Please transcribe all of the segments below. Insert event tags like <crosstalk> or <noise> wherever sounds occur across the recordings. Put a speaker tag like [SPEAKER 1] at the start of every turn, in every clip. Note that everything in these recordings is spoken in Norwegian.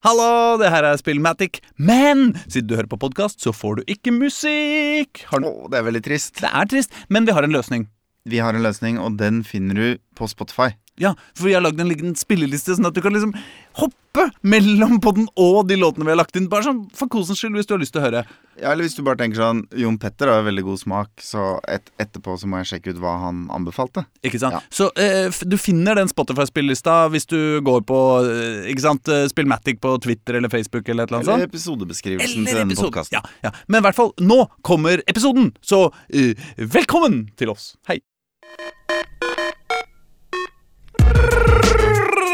[SPEAKER 1] Hallo, det her er Spillmatic, men siden du hører på podkast, så får du ikke musikk. Har du...
[SPEAKER 2] Åh, det er veldig trist.
[SPEAKER 1] Det er trist, men vi har en løsning.
[SPEAKER 2] Vi har en løsning, og den finner du på Spotify.
[SPEAKER 1] Ja, for vi har lagd en liten spilleliste, sånn at du kan liksom hoppe mellom podden og de låtene vi har lagt inn. Bare sånn for kosens skyld, hvis du har lyst til å høre.
[SPEAKER 2] Ja, eller hvis du bare tenker sånn Jon Petter har jo veldig god smak, så et, etterpå så må jeg sjekke ut hva han anbefalte.
[SPEAKER 1] Ikke sant?
[SPEAKER 2] Ja.
[SPEAKER 1] Så eh, f- du finner den Spotify-spillelista hvis du går på eh, ikke sant, eh, Spillmatic på Twitter eller Facebook eller et eller annet
[SPEAKER 2] Eller
[SPEAKER 1] sånt.
[SPEAKER 2] episodebeskrivelsen til
[SPEAKER 1] Sånn. Eller
[SPEAKER 2] denne
[SPEAKER 1] episoden.
[SPEAKER 2] podkasten.
[SPEAKER 1] Ja, ja. Men i hvert fall, nå kommer episoden, så eh, velkommen til oss. Hei.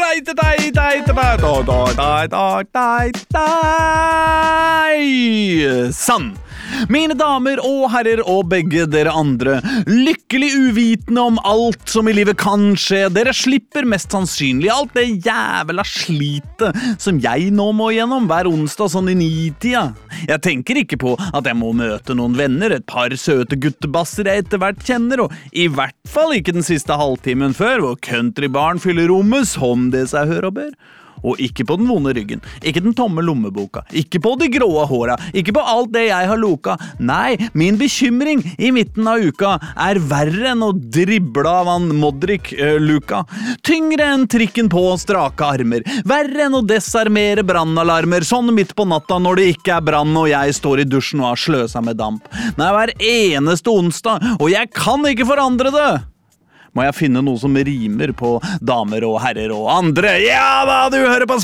[SPEAKER 1] Dei, dei, dei, dei, dei, da, da, dei, da, dei, dei. Sann. Mine damer og herrer og begge dere andre, lykkelig uvitende om alt som i livet kan skje, dere slipper mest sannsynlig alt det jævla slitet som jeg nå må gjennom hver onsdag sånn i nitida. Jeg tenker ikke på at jeg må møte noen venner, et par søte guttebasser jeg etter hvert kjenner, og i hvert fall ikke den siste halvtimen før, hvor countrybaren fyller rommet som det seg hør og bør. Og ikke på den vonde ryggen, ikke den tomme lommeboka, ikke på de gråe håra, ikke på alt det jeg har loka. Nei, min bekymring i midten av uka er verre enn å drible av han Modric eh, Luka. Tyngre enn trikken på strake armer, verre enn å desarmere brannalarmer sånn midt på natta når det ikke er brann og jeg står i dusjen og har sløsa med damp. Nei, hver eneste onsdag, og jeg kan ikke forandre det! må jeg finne noe som rimer på damer og herrer og andre. Ja da, du hører på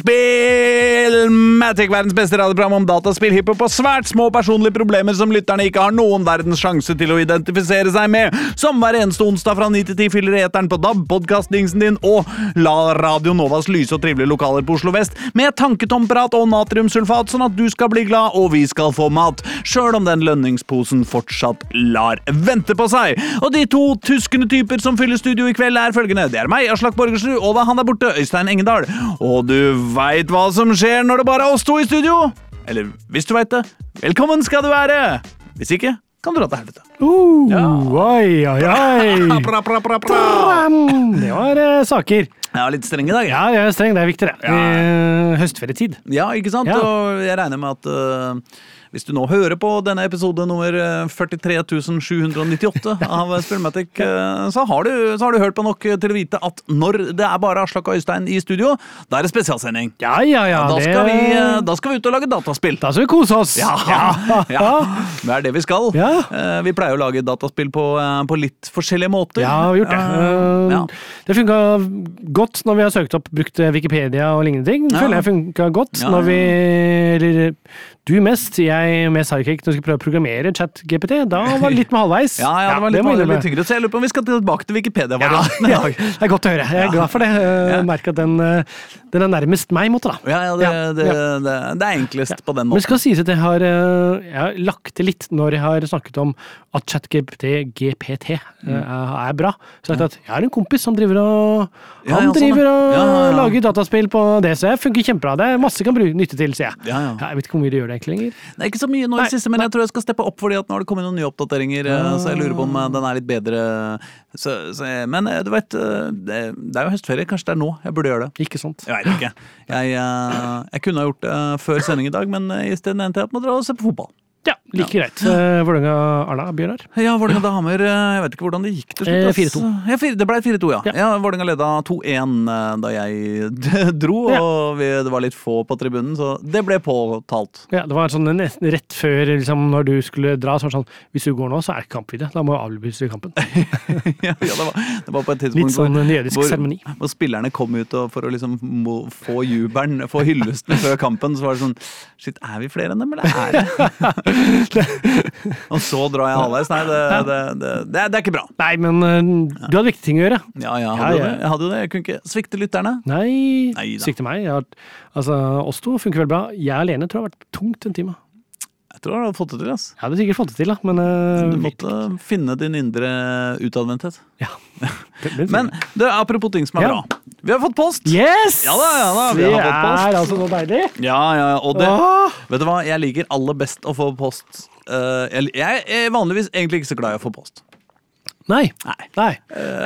[SPEAKER 1] spill! Matic, verdens beste radioprogram om dataspill, hiphop og svært små personlige problemer som lytterne ikke har noen verdens sjanse til å identifisere seg med. Som hver eneste onsdag fra 9 til 10 fyller eteren på DAB, podkastdingsen din og la Radio Novas lyse og trivelige lokaler på Oslo vest med tanketomprat og natriumsulfat, sånn at du skal bli glad og vi skal få mat, sjøl om den lønningsposen fortsatt lar vente på seg. Og de to tyskende typer som fyller studio i kveld, er følgende. Det er meg, Aslak Borgersrud, og da han der borte, Øystein Engedal. Og du veit hva som skjer når det bare er oss to i studio? Eller hvis du veit det, velkommen skal du være! Hvis ikke, kan du dra til helvete.
[SPEAKER 3] Uh, Oi, oi,
[SPEAKER 1] <laughs>
[SPEAKER 3] oi.
[SPEAKER 1] Pra, pra, pra, pra.
[SPEAKER 3] Bam! Det var eh, saker.
[SPEAKER 1] Jeg var litt streng i dag, jeg.
[SPEAKER 3] Ja, jeg er streng. Det er viktig, det. Eh, høstferietid.
[SPEAKER 1] Ja, ikke sant?
[SPEAKER 3] Ja.
[SPEAKER 1] Og jeg regner med at eh, hvis du nå hører på denne episode nummer eh, 43798 av Spillmatic, eh, så, har du, så har du hørt på nok til å vite at når det er bare Aslak og Øystein i studio, da er det spesialsending.
[SPEAKER 3] Ja, ja, ja.
[SPEAKER 1] Da
[SPEAKER 3] det-
[SPEAKER 1] skal, vi, eh, da skal vi ut og lage dataspill.
[SPEAKER 3] Da skal vi kose oss. <laughs>
[SPEAKER 1] Ja, <laughs> ja. Det er det vi skal.
[SPEAKER 3] Ja.
[SPEAKER 1] Eh, Vi pleier å lage dataspill på, eh, på litt forskjellige måter.
[SPEAKER 3] Ja, vi har gjort det.
[SPEAKER 1] Eh, Ja.
[SPEAKER 3] Eh, Det funka godt når vi har søkt opp, brukt eh, Wikipedia og lignende ting.
[SPEAKER 1] Ja.
[SPEAKER 3] Føler jeg funka godt
[SPEAKER 1] Ja, ja.
[SPEAKER 3] når vi Eller du mest, jeg med sidekick, når vi skulle prøve å programmere chat-GPT. Da
[SPEAKER 1] <laughs>
[SPEAKER 3] var det litt med halvveis.
[SPEAKER 1] Ja, ja, det var litt,
[SPEAKER 3] må jeg
[SPEAKER 1] litt
[SPEAKER 3] innrømme.
[SPEAKER 1] tyngre, så jeg lurer på om vi skal tilbake til
[SPEAKER 3] Ja,
[SPEAKER 1] Wikipedia-varianten i
[SPEAKER 3] ja, <laughs>
[SPEAKER 1] <laughs> dag.
[SPEAKER 3] det er godt å høre. Jeg er glad for det. Jeg merker at den, eh, den er nærmest meg, måtte da.
[SPEAKER 1] Ja, ja, det,
[SPEAKER 3] Ja,
[SPEAKER 1] det,
[SPEAKER 3] ja.
[SPEAKER 1] Det, det er enklest på den
[SPEAKER 3] Men
[SPEAKER 1] måten.
[SPEAKER 3] skal sies at jeg har, eh, jeg har lagt til litt når jeg har snakket om at ChatGPT GPT, eh, er bra. Så jeg har sagt at jeg har en kompis som driver og
[SPEAKER 1] Mm. Ja,
[SPEAKER 3] Han
[SPEAKER 1] ja, sånn, ja.
[SPEAKER 3] driver og
[SPEAKER 1] Ja, ja, ja.
[SPEAKER 3] lager dataspill på det, så jeg funker kjempebra. Det er masse jeg kan bruke, nytte til, sier jeg.
[SPEAKER 1] Ja, ja.
[SPEAKER 3] Jeg vet ikke hvor mye det gjør det egentlig lenger.
[SPEAKER 1] Det er ikke så mye nå i
[SPEAKER 3] Nei,
[SPEAKER 1] det siste, men jeg tror jeg skal steppe opp, fordi at nå har det kommet noen nye oppdateringer, eh, så jeg lurer på om eh, den er litt bedre. Så, så, jeg- men eh, du vet, eh, det, det er jo høstferie. Kanskje det er nå jeg burde gjøre det.
[SPEAKER 3] Ikke sant.
[SPEAKER 1] Jeg vet ikke. Jeg, eh, jeg kunne ha gjort det før sending i dag, men eh, isteden endte jeg opp med å dra og se på fotball.
[SPEAKER 3] Ja, like greit. Eh, Vålerenga-Arna, Bjørnar.
[SPEAKER 1] Ja, Vålerenga damer eh, Jeg vet ikke hvordan det gikk til slutt.
[SPEAKER 3] Eh,
[SPEAKER 1] ass.
[SPEAKER 3] 4-2.
[SPEAKER 1] Ja, fire- det ble 4-2, ja.
[SPEAKER 3] Ja.
[SPEAKER 1] ja. Vålerenga leda 2-1 eh, da jeg <laughs> dro,
[SPEAKER 3] Ja.
[SPEAKER 1] og vi, det var litt få på tribunen, så det ble påtalt. <laughs>
[SPEAKER 3] Ja, det var sånn nesten rett før liksom, når du skulle dra, så var det sånn Hvis du går nå, så er det ikke kamp i det. Da må vi avlyse kampen.
[SPEAKER 1] ja, ja, det, var, det var på et tidspunkt
[SPEAKER 3] Litt sånn
[SPEAKER 1] hvor-
[SPEAKER 3] en jødisk
[SPEAKER 1] hvor-
[SPEAKER 3] seremoni.
[SPEAKER 1] Hvor spillerne kom ut og for å liksom mo- få jubelen, få hyllesten før kampen, så var det sånn Shit, er vi flere enn dem, eller er det <laughs> Og så drar jeg halvveis. Nei, det, det, det, det, er, det er ikke bra.
[SPEAKER 3] Nei, men eh, du hadde viktige ting å gjøre.
[SPEAKER 1] Ja, jeg hadde jo
[SPEAKER 3] Ja, ja.
[SPEAKER 1] det. Jeg, hadde jo det. jeg kunne ikke svikte lytterne.
[SPEAKER 3] Nei,
[SPEAKER 1] Neida.
[SPEAKER 3] svikte meg. Jeg har, altså, oss to funker veldig bra. Jeg alene tror det har vært tungt en time.
[SPEAKER 1] Jeg tror jeg hadde fått det til, ass.
[SPEAKER 3] Jeg hadde sikkert fått det til, da, men eh,
[SPEAKER 1] Du
[SPEAKER 3] vi-
[SPEAKER 1] måtte finne din indre utadvendthet. <laughs>
[SPEAKER 3] ja. Det- det-
[SPEAKER 1] Men du, apropos ting som er
[SPEAKER 3] Ja.
[SPEAKER 1] bra. Vi har fått post!
[SPEAKER 3] Yes!
[SPEAKER 1] Ja da, ja da, vi
[SPEAKER 3] det
[SPEAKER 1] har fått post.
[SPEAKER 3] er altså så deilig.
[SPEAKER 1] Ja, ja, og det,
[SPEAKER 3] Åh!
[SPEAKER 1] Vet du hva, jeg liker aller best å få post. Eh, jeg, jeg er vanligvis egentlig ikke så glad i å få post. Eh.
[SPEAKER 3] Nei. Nei.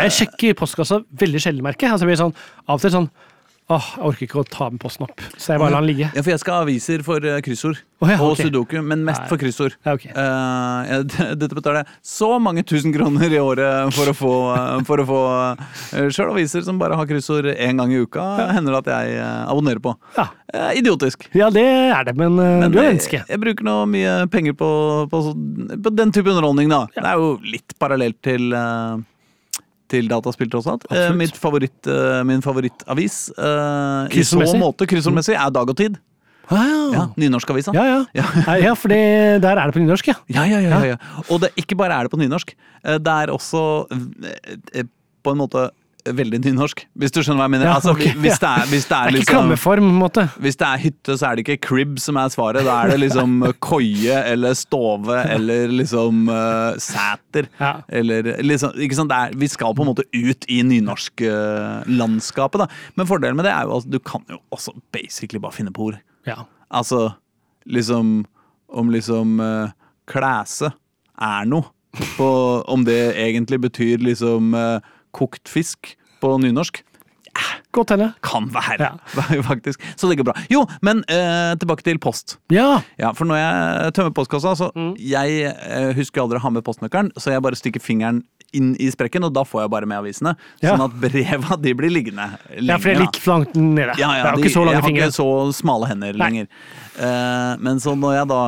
[SPEAKER 3] Jeg sjekker postkassa veldig sjelden, merker jeg. altså, jeg. blir Sånn, av og til sånn Åh, jeg orker ikke å ta med posten opp, så jeg bare lar den ligge.
[SPEAKER 1] Ja, for jeg skal ha aviser for eh, kryssord
[SPEAKER 3] Å ja,
[SPEAKER 1] og
[SPEAKER 3] ok.
[SPEAKER 1] sudoku, men mest
[SPEAKER 3] Nei.
[SPEAKER 1] for kryssord.
[SPEAKER 3] Ja, ok.
[SPEAKER 1] Eh, jeg- <laughs> dette betaler jeg så mange tusen kroner i året for å få, eh, for å få eh, sjøl aviser som bare har kryssord én gang i uka, hender det at jeg eh, abonnerer på.
[SPEAKER 3] Ja.
[SPEAKER 1] Eh, idiotisk.
[SPEAKER 3] ja, det er det, men, eh,
[SPEAKER 1] Men
[SPEAKER 3] du er
[SPEAKER 1] jeg,
[SPEAKER 3] menneske.
[SPEAKER 1] jeg bruker nå mye penger på, på, så- på den type underholdning, da. Det er jo litt parallelt til eh, til dataspill, tross alt. Eh,
[SPEAKER 3] Absolutt.
[SPEAKER 1] mitt favoritt, eh, min favorittavis eh, i så
[SPEAKER 3] Kryssordmessig?
[SPEAKER 1] måte kryssordmessig er Dag og Tid. Ja,
[SPEAKER 3] Wow.
[SPEAKER 1] Nynorskavisa.
[SPEAKER 3] Ja, ja.
[SPEAKER 1] Ja.
[SPEAKER 3] Nei, ja, for det, der er det på nynorsk, ja.
[SPEAKER 1] Ja, ja, ja, ja, ja. Og det, ikke bare er det på nynorsk. eh, Det er også eh, eh, på en måte veldig nynorsk, hvis du skjønner hva jeg mener.
[SPEAKER 3] Ja,
[SPEAKER 1] altså,
[SPEAKER 3] ok,
[SPEAKER 1] hvis, det er, hvis, det
[SPEAKER 3] Det
[SPEAKER 1] er
[SPEAKER 3] er ikke
[SPEAKER 1] liksom,
[SPEAKER 3] klammeform, på en måte.
[SPEAKER 1] hvis det er hytte, så er det ikke crib som er svaret. Da er det liksom koie eller stove eller liksom eh, sæter.
[SPEAKER 3] Ja.
[SPEAKER 1] Eller liksom, ikke sant? Det er, vi skal på en måte ut i nynorsklandskapet, da. Men fordelen med det er jo at du kan jo også basically bare finne på ord.
[SPEAKER 3] Ja.
[SPEAKER 1] Altså, liksom Om liksom eh, klæse er noe. På, om det egentlig betyr liksom eh, kokt fisk på nynorsk.
[SPEAKER 3] Godt hende.
[SPEAKER 1] Kan være,
[SPEAKER 3] Ja.
[SPEAKER 1] <laughs> faktisk. Så det går bra. Jo, men eh, tilbake til post.
[SPEAKER 3] Ja.
[SPEAKER 1] Ja, For når jeg tømmer postkassa, så
[SPEAKER 3] Mm.
[SPEAKER 1] jeg eh, husker jo aldri å ha med postnøkkelen, så jeg bare stikker fingeren inn i sprekken, og da får jeg bare med avisene.
[SPEAKER 3] Ja.
[SPEAKER 1] Sånn at breva de blir liggende lenge.
[SPEAKER 3] ja, for det er
[SPEAKER 1] da.
[SPEAKER 3] litt langt nede.
[SPEAKER 1] Ja, ja,
[SPEAKER 3] det er jo
[SPEAKER 1] de-
[SPEAKER 3] ikke så lange
[SPEAKER 1] jeg
[SPEAKER 3] fingre.
[SPEAKER 1] har ikke så smale hender
[SPEAKER 3] Nei.
[SPEAKER 1] lenger. Eh, men så når jeg da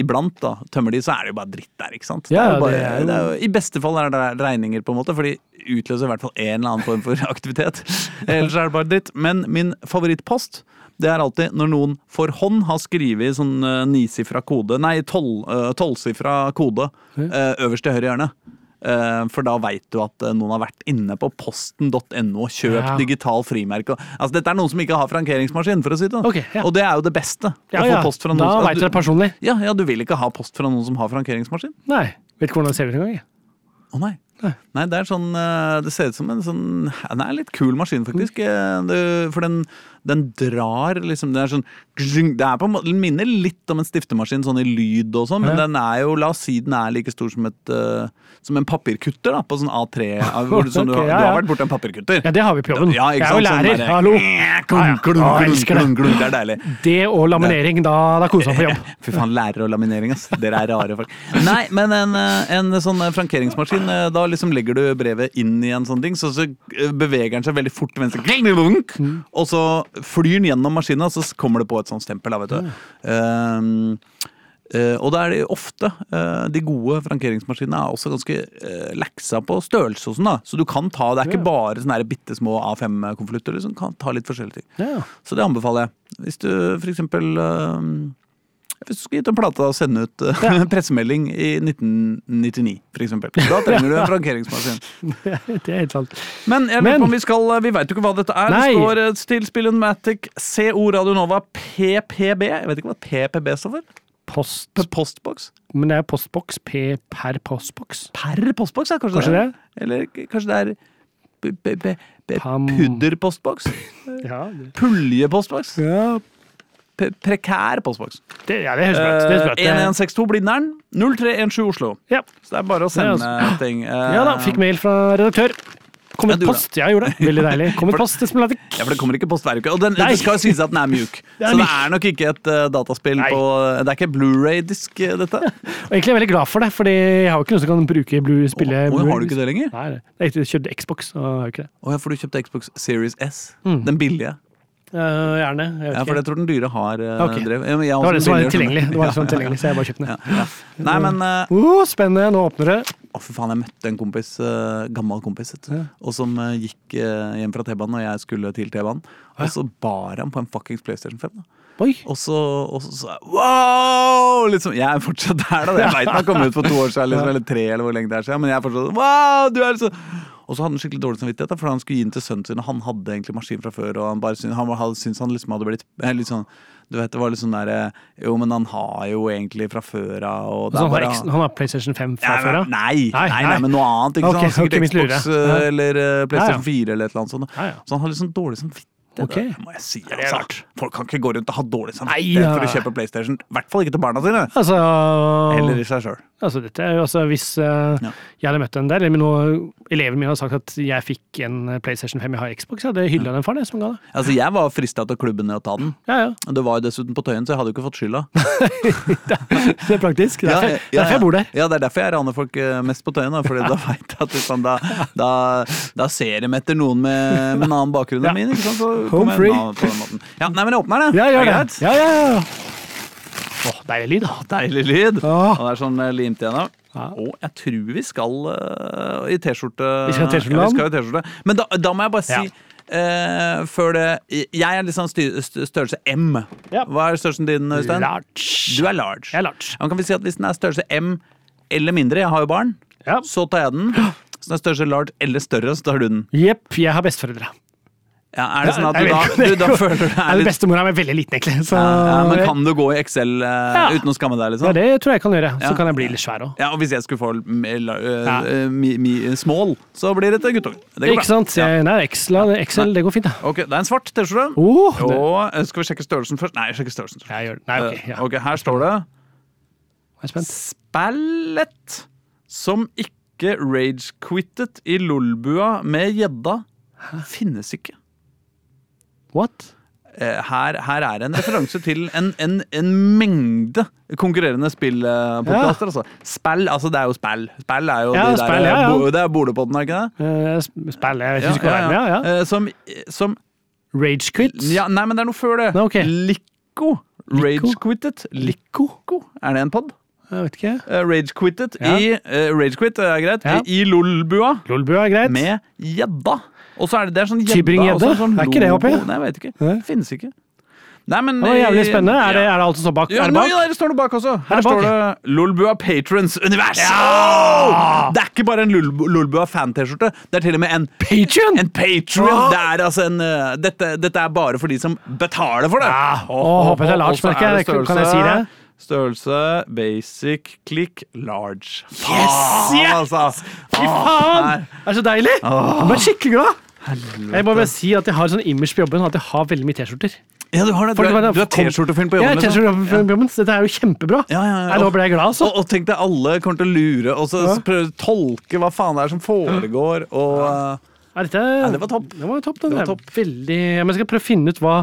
[SPEAKER 1] iblant da, tømmer de, så er det jo bare dritt der. ikke sant?
[SPEAKER 3] Ja,
[SPEAKER 1] det er jo bare,
[SPEAKER 3] det er jo-
[SPEAKER 1] det er jo, I beste fall er det regninger, på en måte, for de utløser i hvert fall en eller annen form for <laughs> aktivitet. Ellers er det bare dritt. Men min favorittpost det er alltid når noen for hånd har skrevet sånn eh, nisifra kode, nei, tolv- eh, tolvsifra kode eh, øverst i høyre hjørne. Eh, for da veit du at eh, noen har vært inne på posten.no og kjøpt
[SPEAKER 3] Ja.
[SPEAKER 1] digital frimerke. Altså, dette er noen som ikke har frankeringsmaskin, for å si det. sånn.
[SPEAKER 3] Ok, ja.
[SPEAKER 1] Og det er jo det beste.
[SPEAKER 3] Ja,
[SPEAKER 1] å få
[SPEAKER 3] ja.
[SPEAKER 1] post fra noen
[SPEAKER 3] Da
[SPEAKER 1] som-
[SPEAKER 3] veit du det personlig.
[SPEAKER 1] Ja, ja, du vil ikke ha post fra noen som har frankeringsmaskin.
[SPEAKER 3] Nei. Vet ikke hvordan det ser ut engang. jeg.
[SPEAKER 1] Å nei.
[SPEAKER 3] Nei.
[SPEAKER 1] Nei, det er sånn eh, Det ser ut som en sånn ja, Den er en litt kul maskin, faktisk.
[SPEAKER 3] Mm.
[SPEAKER 1] Eh, Det, for den, den drar liksom Det er sånn gzing, Det er på en måte, den minner litt om en stiftemaskin, sånn i lyd og sånn, men
[SPEAKER 3] Ja.
[SPEAKER 1] den er jo La oss si den er like stor som et eh, Som en papirkutter, da, på sånn A3.
[SPEAKER 3] <laughs>
[SPEAKER 1] av- Hvor, du- som du,
[SPEAKER 3] Ok,
[SPEAKER 1] har-
[SPEAKER 3] ja,
[SPEAKER 1] du
[SPEAKER 3] ja.
[SPEAKER 1] har vært borti en papirkutter.
[SPEAKER 3] Ja, det har vi på jobben.
[SPEAKER 1] <laughs> Ja, ikke
[SPEAKER 3] jeg er jo
[SPEAKER 1] sant, sånn
[SPEAKER 3] lærer.
[SPEAKER 1] der-
[SPEAKER 3] Hallo. Ja, ja.
[SPEAKER 1] Klunk, klunk,
[SPEAKER 3] Å,
[SPEAKER 1] klunk,
[SPEAKER 3] jeg elsker det.
[SPEAKER 1] klunk, klunk, det er deilig.
[SPEAKER 3] Det og laminering, da, da koser han
[SPEAKER 1] <laughs>
[SPEAKER 3] på jobb.
[SPEAKER 1] Fy faen, lærer og laminering, ass. Dere er rare folk. Nei, men en, eh, en sånn eh, frankeringsmaskin, eh, da liksom legger du brevet inn i en sånn ding, så, så eh, beveger den seg veldig fort til venstre, Kling, lunk, og så flyr den gjennom maskinen, og så kommer det på et sånt stempel, da, vet du. Ehm, eh, og da er det ofte eh, De gode frankeringsmaskinene er også ganske uh, leksa på størrelse og sånn, da. Så du kan ta Det er ikke bare sånne bitte små A5-konvolutter, liksom. Kan ta litt forskjellige ting.
[SPEAKER 3] Ja.
[SPEAKER 1] Så det anbefaler jeg. Hvis du for eksempel øhm, Hvis du skal gi ut en plate og sende ut øh, <laughs> pressemelding i 1999, for eksempel.
[SPEAKER 3] <laughs>
[SPEAKER 1] Da trenger du en frankeringsmaskin.
[SPEAKER 3] Det er helt sant.
[SPEAKER 1] Men jeg lurer
[SPEAKER 3] Men-
[SPEAKER 1] på om vi skal øh, Vi veit jo ikke hva dette er.
[SPEAKER 3] Nei.
[SPEAKER 1] Det står øh, Still Spillomatic CO Radio Nova PPB. Jeg vet ikke hva PPB står for.
[SPEAKER 3] Post
[SPEAKER 1] P- Postboks?
[SPEAKER 3] Men det er postboks P per postboks.
[SPEAKER 1] Per postboks, er kanskje,
[SPEAKER 3] Kanskje det?
[SPEAKER 1] Eller k- kanskje det er p- p- p- p-
[SPEAKER 3] Pam- <laughs>
[SPEAKER 1] Pudderpostboks?
[SPEAKER 3] Ja,
[SPEAKER 1] Puljepostboks? P- Prekær postboks?
[SPEAKER 3] det, ja, det høres bra ut. Det høres bra ut.
[SPEAKER 1] Eh, 1162 Blindern. 0317 Oslo.
[SPEAKER 3] Ja.
[SPEAKER 1] Så det er bare å sende
[SPEAKER 3] Det er
[SPEAKER 1] ting. eh,
[SPEAKER 3] ja da, fikk mail fra redaktør. Kom
[SPEAKER 1] Ja,
[SPEAKER 3] et
[SPEAKER 1] du da.
[SPEAKER 3] post. Ja, jeg gjorde det. Veldig deilig. Kom et post. Det smeller ikke.
[SPEAKER 1] Ja, for det kommer ikke post hver uke. Og den,
[SPEAKER 3] Nei.
[SPEAKER 1] det skal jo sies at den er mjuk.
[SPEAKER 3] <laughs> Det er
[SPEAKER 1] så det
[SPEAKER 3] mjuk.
[SPEAKER 1] er nok ikke et eh, dataspill
[SPEAKER 3] Nei.
[SPEAKER 1] på eh, Det er ikke Blu-ray-disk, eh, dette.
[SPEAKER 3] <laughs> Og egentlig er jeg veldig glad for det, Fordi jeg har jo ikke noen som kan bruke Blue, spille
[SPEAKER 1] Å,
[SPEAKER 3] Blu-
[SPEAKER 1] har du ikke det lenger?
[SPEAKER 3] Nei, det- jeg kjøpte- kjøpte Xbox, og jeg har jo ikke det.
[SPEAKER 1] Å ja, for du kjøpte Xbox Series S.
[SPEAKER 3] Mm.
[SPEAKER 1] Den billige.
[SPEAKER 3] Eh, gjerne. Jeg vet
[SPEAKER 1] Ja, for
[SPEAKER 3] ikke.
[SPEAKER 1] jeg tror den dyre har eh,
[SPEAKER 3] Ok.
[SPEAKER 1] drev. Ja, men jeg har
[SPEAKER 3] Det
[SPEAKER 1] også
[SPEAKER 3] var det som var
[SPEAKER 1] den billige,
[SPEAKER 3] tilgjengelig, det var det som var
[SPEAKER 1] skjønner du.
[SPEAKER 3] tilgjengelig så jeg bare kjøpte den.
[SPEAKER 1] Ja, ja, ja. Nei, men eh,
[SPEAKER 3] Oh, spennende, nå åpner det.
[SPEAKER 1] Å, for faen, jeg møtte en kompis, eh, gammel kompis, vet du, og som eh, gikk eh, hjem fra T-banen, og jeg skulle til T-banen. Og så bar han på en fuckings PlayStation 5. da.
[SPEAKER 3] Oi!
[SPEAKER 1] Og så, og så sa jeg wow! Liksom, jeg er fortsatt der, da. Jeg veit den har kommet ut for to år siden, liksom, eller tre, eller hvor lenge det er siden. Men jeg er fortsatt sånn, wow! Du er liksom Og så hadde han skikkelig dårlig samvittighet, da, for han skulle gi den til sønnen sin, og han hadde egentlig maskin fra før, og han bare syntes han, hadde- syntes han liksom hadde blitt eh, litt sånn du vet, det var litt sånn der eh, Jo, men han har jo egentlig fra før av og det er
[SPEAKER 3] Så han, har
[SPEAKER 1] bare-
[SPEAKER 3] X, han har PlayStation 5 fra
[SPEAKER 1] ja,
[SPEAKER 3] før
[SPEAKER 1] men-
[SPEAKER 3] av?
[SPEAKER 1] Nei, nei, nei, men noe annet. Ikke
[SPEAKER 3] Ok,
[SPEAKER 1] sant? Han har
[SPEAKER 3] ok,
[SPEAKER 1] Sikkert
[SPEAKER 3] mitt lure.
[SPEAKER 1] Xbox
[SPEAKER 3] Ja.
[SPEAKER 1] eh, eller eh, PlayStation
[SPEAKER 3] Ja,
[SPEAKER 1] 4 eller et eller annet sånt.
[SPEAKER 3] Ja, ja.
[SPEAKER 1] Så han har litt sånn dårlig samvittighet.
[SPEAKER 3] Ok.
[SPEAKER 1] Det må jeg si,
[SPEAKER 3] er
[SPEAKER 1] altså.
[SPEAKER 3] rart.
[SPEAKER 1] Folk kan ikke gå rundt og ha dårlig
[SPEAKER 3] Nei,
[SPEAKER 1] samvittighet
[SPEAKER 3] ja.
[SPEAKER 1] for å kjøpe PlayStation. I hvert fall ikke til barna sine.
[SPEAKER 3] Altså
[SPEAKER 1] Eller i seg sjøl.
[SPEAKER 3] Altså, dette er jo altså Hvis eh,
[SPEAKER 1] Ja.
[SPEAKER 3] jeg hadde møtt den der, eller noe elevene mine hadde sagt at jeg fikk en eh, PlayStation 5, jeg har Xbox, jeg hadde hylla den faren jeg som ga det.
[SPEAKER 1] Altså, jeg var frista til klubben ned å ta den.
[SPEAKER 3] Ja,
[SPEAKER 1] <laughs>
[SPEAKER 3] ja.
[SPEAKER 1] Det var jo dessuten på Tøyen, så jeg hadde jo ikke fått skylda.
[SPEAKER 3] Det er praktisk. Det er
[SPEAKER 1] Ja, ja, ja.
[SPEAKER 3] derfor, derfor jeg bor der.
[SPEAKER 1] Ja, det er derfor jeg raner folk eh, mest på Tøyen. Da, fordi
[SPEAKER 3] <laughs>
[SPEAKER 1] da vet jeg at det, sånn, da, da, da ser de etter noen med, med en annen bakgrunn enn
[SPEAKER 3] Ja.
[SPEAKER 1] min. Ikke sant? Så
[SPEAKER 3] Home
[SPEAKER 1] kommer jeg
[SPEAKER 3] free.
[SPEAKER 1] unna på den måten. Ja, nei, men jeg åpner det.
[SPEAKER 3] Ja,
[SPEAKER 1] Er
[SPEAKER 3] gjør det.
[SPEAKER 1] greit?
[SPEAKER 3] Ja, ja, ja. Åh, deilig lyd, da.
[SPEAKER 1] Deilig lyd.
[SPEAKER 3] Åh.
[SPEAKER 1] Og det er sånn eh, limt igjen. da.
[SPEAKER 3] Ja.
[SPEAKER 1] Og jeg tror vi skal eh, i T-skjorte.
[SPEAKER 3] Vi skal i T-skjorte,
[SPEAKER 1] Ja,
[SPEAKER 3] da.
[SPEAKER 1] vi skal i T-skjorte. Men da, da må jeg bare si
[SPEAKER 3] Ja.
[SPEAKER 1] eh, før det Jeg er liksom styr, st- størrelse M.
[SPEAKER 3] Ja.
[SPEAKER 1] Hva er størrelsen din, Øystein?
[SPEAKER 3] Large.
[SPEAKER 1] Du er large.
[SPEAKER 3] Jeg er large.
[SPEAKER 1] Ja, men kan vi si at Hvis den er størrelse M eller mindre, jeg har jo barn,
[SPEAKER 3] Ja.
[SPEAKER 1] så tar jeg den. Hvis den er størrelse large eller større, så tar du den.
[SPEAKER 3] Jepp, jeg har besteforeldre.
[SPEAKER 1] Ja, er det sånn at du
[SPEAKER 3] Jeg
[SPEAKER 1] da,
[SPEAKER 3] vet ikke om
[SPEAKER 1] du
[SPEAKER 3] det
[SPEAKER 1] da
[SPEAKER 3] går.
[SPEAKER 1] føler du
[SPEAKER 3] Nei,
[SPEAKER 1] er litt
[SPEAKER 3] Bestemora mi er veldig liten, egentlig. Så
[SPEAKER 1] ja, Men kan du gå i Excel eh,
[SPEAKER 3] Ja.
[SPEAKER 1] uten å skamme deg,
[SPEAKER 3] ja,
[SPEAKER 1] liksom?
[SPEAKER 3] det tror jeg jeg kan gjøre. Så
[SPEAKER 1] Ja.
[SPEAKER 3] kan jeg bli litt svær òg.
[SPEAKER 1] Ja, og hvis jeg skulle få eh, la- eh,
[SPEAKER 3] Ja.
[SPEAKER 1] eh, mi, mi, small, så blir det et guttunge. Det går bra.
[SPEAKER 3] Ikke sant?
[SPEAKER 1] Ja.
[SPEAKER 3] Jeg, nei, Excel, Excel, det går fint, da.
[SPEAKER 1] Ok, det er en svart T-skjorte.
[SPEAKER 3] Oh, det.
[SPEAKER 1] Og eh, skal vi sjekke størrelsen først? Nei, jeg sjekker størrelsen først.
[SPEAKER 3] Jeg gjør det. Nei, ok. Ja.
[SPEAKER 1] Eh, ok, her står det
[SPEAKER 3] Jeg er spent.
[SPEAKER 1] Spallet som ikke ragequittet i lolbua med gjedda, finnes ikke.
[SPEAKER 3] What?
[SPEAKER 1] Eh, Her, her er en referanse til en, en, en mengde konkurrerende spillpodkaster. Altså. Spill, altså det er jo spill. Spill er jo
[SPEAKER 3] Ja,
[SPEAKER 1] de der,
[SPEAKER 3] spill, ja, ja.
[SPEAKER 1] Bo, det er Bolepodden, er ikke det?
[SPEAKER 3] Eh, sp- Spill, jeg vet ikke hva det er. Ja, ja.
[SPEAKER 1] Eh, Som, som
[SPEAKER 3] Ragequit.
[SPEAKER 1] ja, Nei, men det er noe før det.
[SPEAKER 3] Nei, ok.
[SPEAKER 1] Lico. Ragequittet. Lico? Er det en pod?
[SPEAKER 3] Jeg vet ikke.
[SPEAKER 1] Eh, Ragequittet
[SPEAKER 3] Ja.
[SPEAKER 1] i eh, Ragequit, det er greit.
[SPEAKER 3] Ja.
[SPEAKER 1] I, I lolbua.
[SPEAKER 3] Lolbua er greit.
[SPEAKER 1] med gjedda. Og så er det, det er sånn gjedda
[SPEAKER 3] Tybring-gjedde?
[SPEAKER 1] og så Sånn
[SPEAKER 3] Er ikke det oppi?
[SPEAKER 1] logo. Nei, jeg vet ikke.
[SPEAKER 3] Nei.
[SPEAKER 1] Finnes ikke. Nei, men eh,
[SPEAKER 3] Det var jævlig spennende. Er det,
[SPEAKER 1] ja.
[SPEAKER 3] er det alt som står bak?
[SPEAKER 1] Ja,
[SPEAKER 3] er det
[SPEAKER 1] nå,
[SPEAKER 3] bak?
[SPEAKER 1] ja, det står det bak også. Her
[SPEAKER 3] det bak,
[SPEAKER 1] står det Lolbua Patrons Univers. Åh! Det er ikke bare en Lol- Lolbua fan-T-skjorte. Det er til og med en
[SPEAKER 3] Patreon?
[SPEAKER 1] En Patreon!
[SPEAKER 3] Åh!
[SPEAKER 1] Det er altså en eh, dette, dette er bare for de som betaler for det.
[SPEAKER 3] Ja,
[SPEAKER 1] Og-
[SPEAKER 3] åh,
[SPEAKER 1] og-
[SPEAKER 3] håper det er
[SPEAKER 1] og-
[SPEAKER 3] large,
[SPEAKER 1] og så
[SPEAKER 3] merker jeg.
[SPEAKER 1] det
[SPEAKER 3] Kan jeg si det?
[SPEAKER 1] Størrelse basic click large. Yes!
[SPEAKER 3] Yes!
[SPEAKER 1] Altså.
[SPEAKER 3] Fy faen! Det er så deilig! Jeg ble skikkelig glad. Jeg må bare si at jeg har sånn image på jobben at jeg har veldig mye T-skjorter.
[SPEAKER 1] Ja, du har det. Du
[SPEAKER 3] Folk
[SPEAKER 1] er,
[SPEAKER 3] bare,
[SPEAKER 1] du er
[SPEAKER 3] kom-
[SPEAKER 1] T-skjortefyll på
[SPEAKER 3] Ja,
[SPEAKER 1] jobben.
[SPEAKER 3] jeg er
[SPEAKER 1] liksom.
[SPEAKER 3] T-skjorte på jobben, så dette er jo kjempebra.
[SPEAKER 1] Ja, ja, ja.
[SPEAKER 3] Nei, Nå ble jeg glad, altså.
[SPEAKER 1] Og, og tenk deg, alle kommer til å lure og så
[SPEAKER 3] Ja.
[SPEAKER 1] prøve å tolke hva faen det er som foregår. Og eh,
[SPEAKER 3] Ja, dette,
[SPEAKER 1] det var topp.
[SPEAKER 3] Det var topp, den.
[SPEAKER 1] Det var
[SPEAKER 3] der. Veldig, ja, men jeg skal prøve å finne ut hva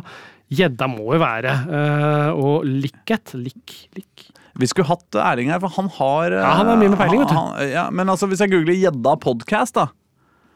[SPEAKER 3] gjedda må jo være. eh, og likhet Lik, lik.
[SPEAKER 1] vi skulle hatt Erling her, for han har eh,
[SPEAKER 3] Ja, han har mye med peiling, vet du.
[SPEAKER 1] han- ja, men altså, hvis jeg googler 'gjedda podcast', da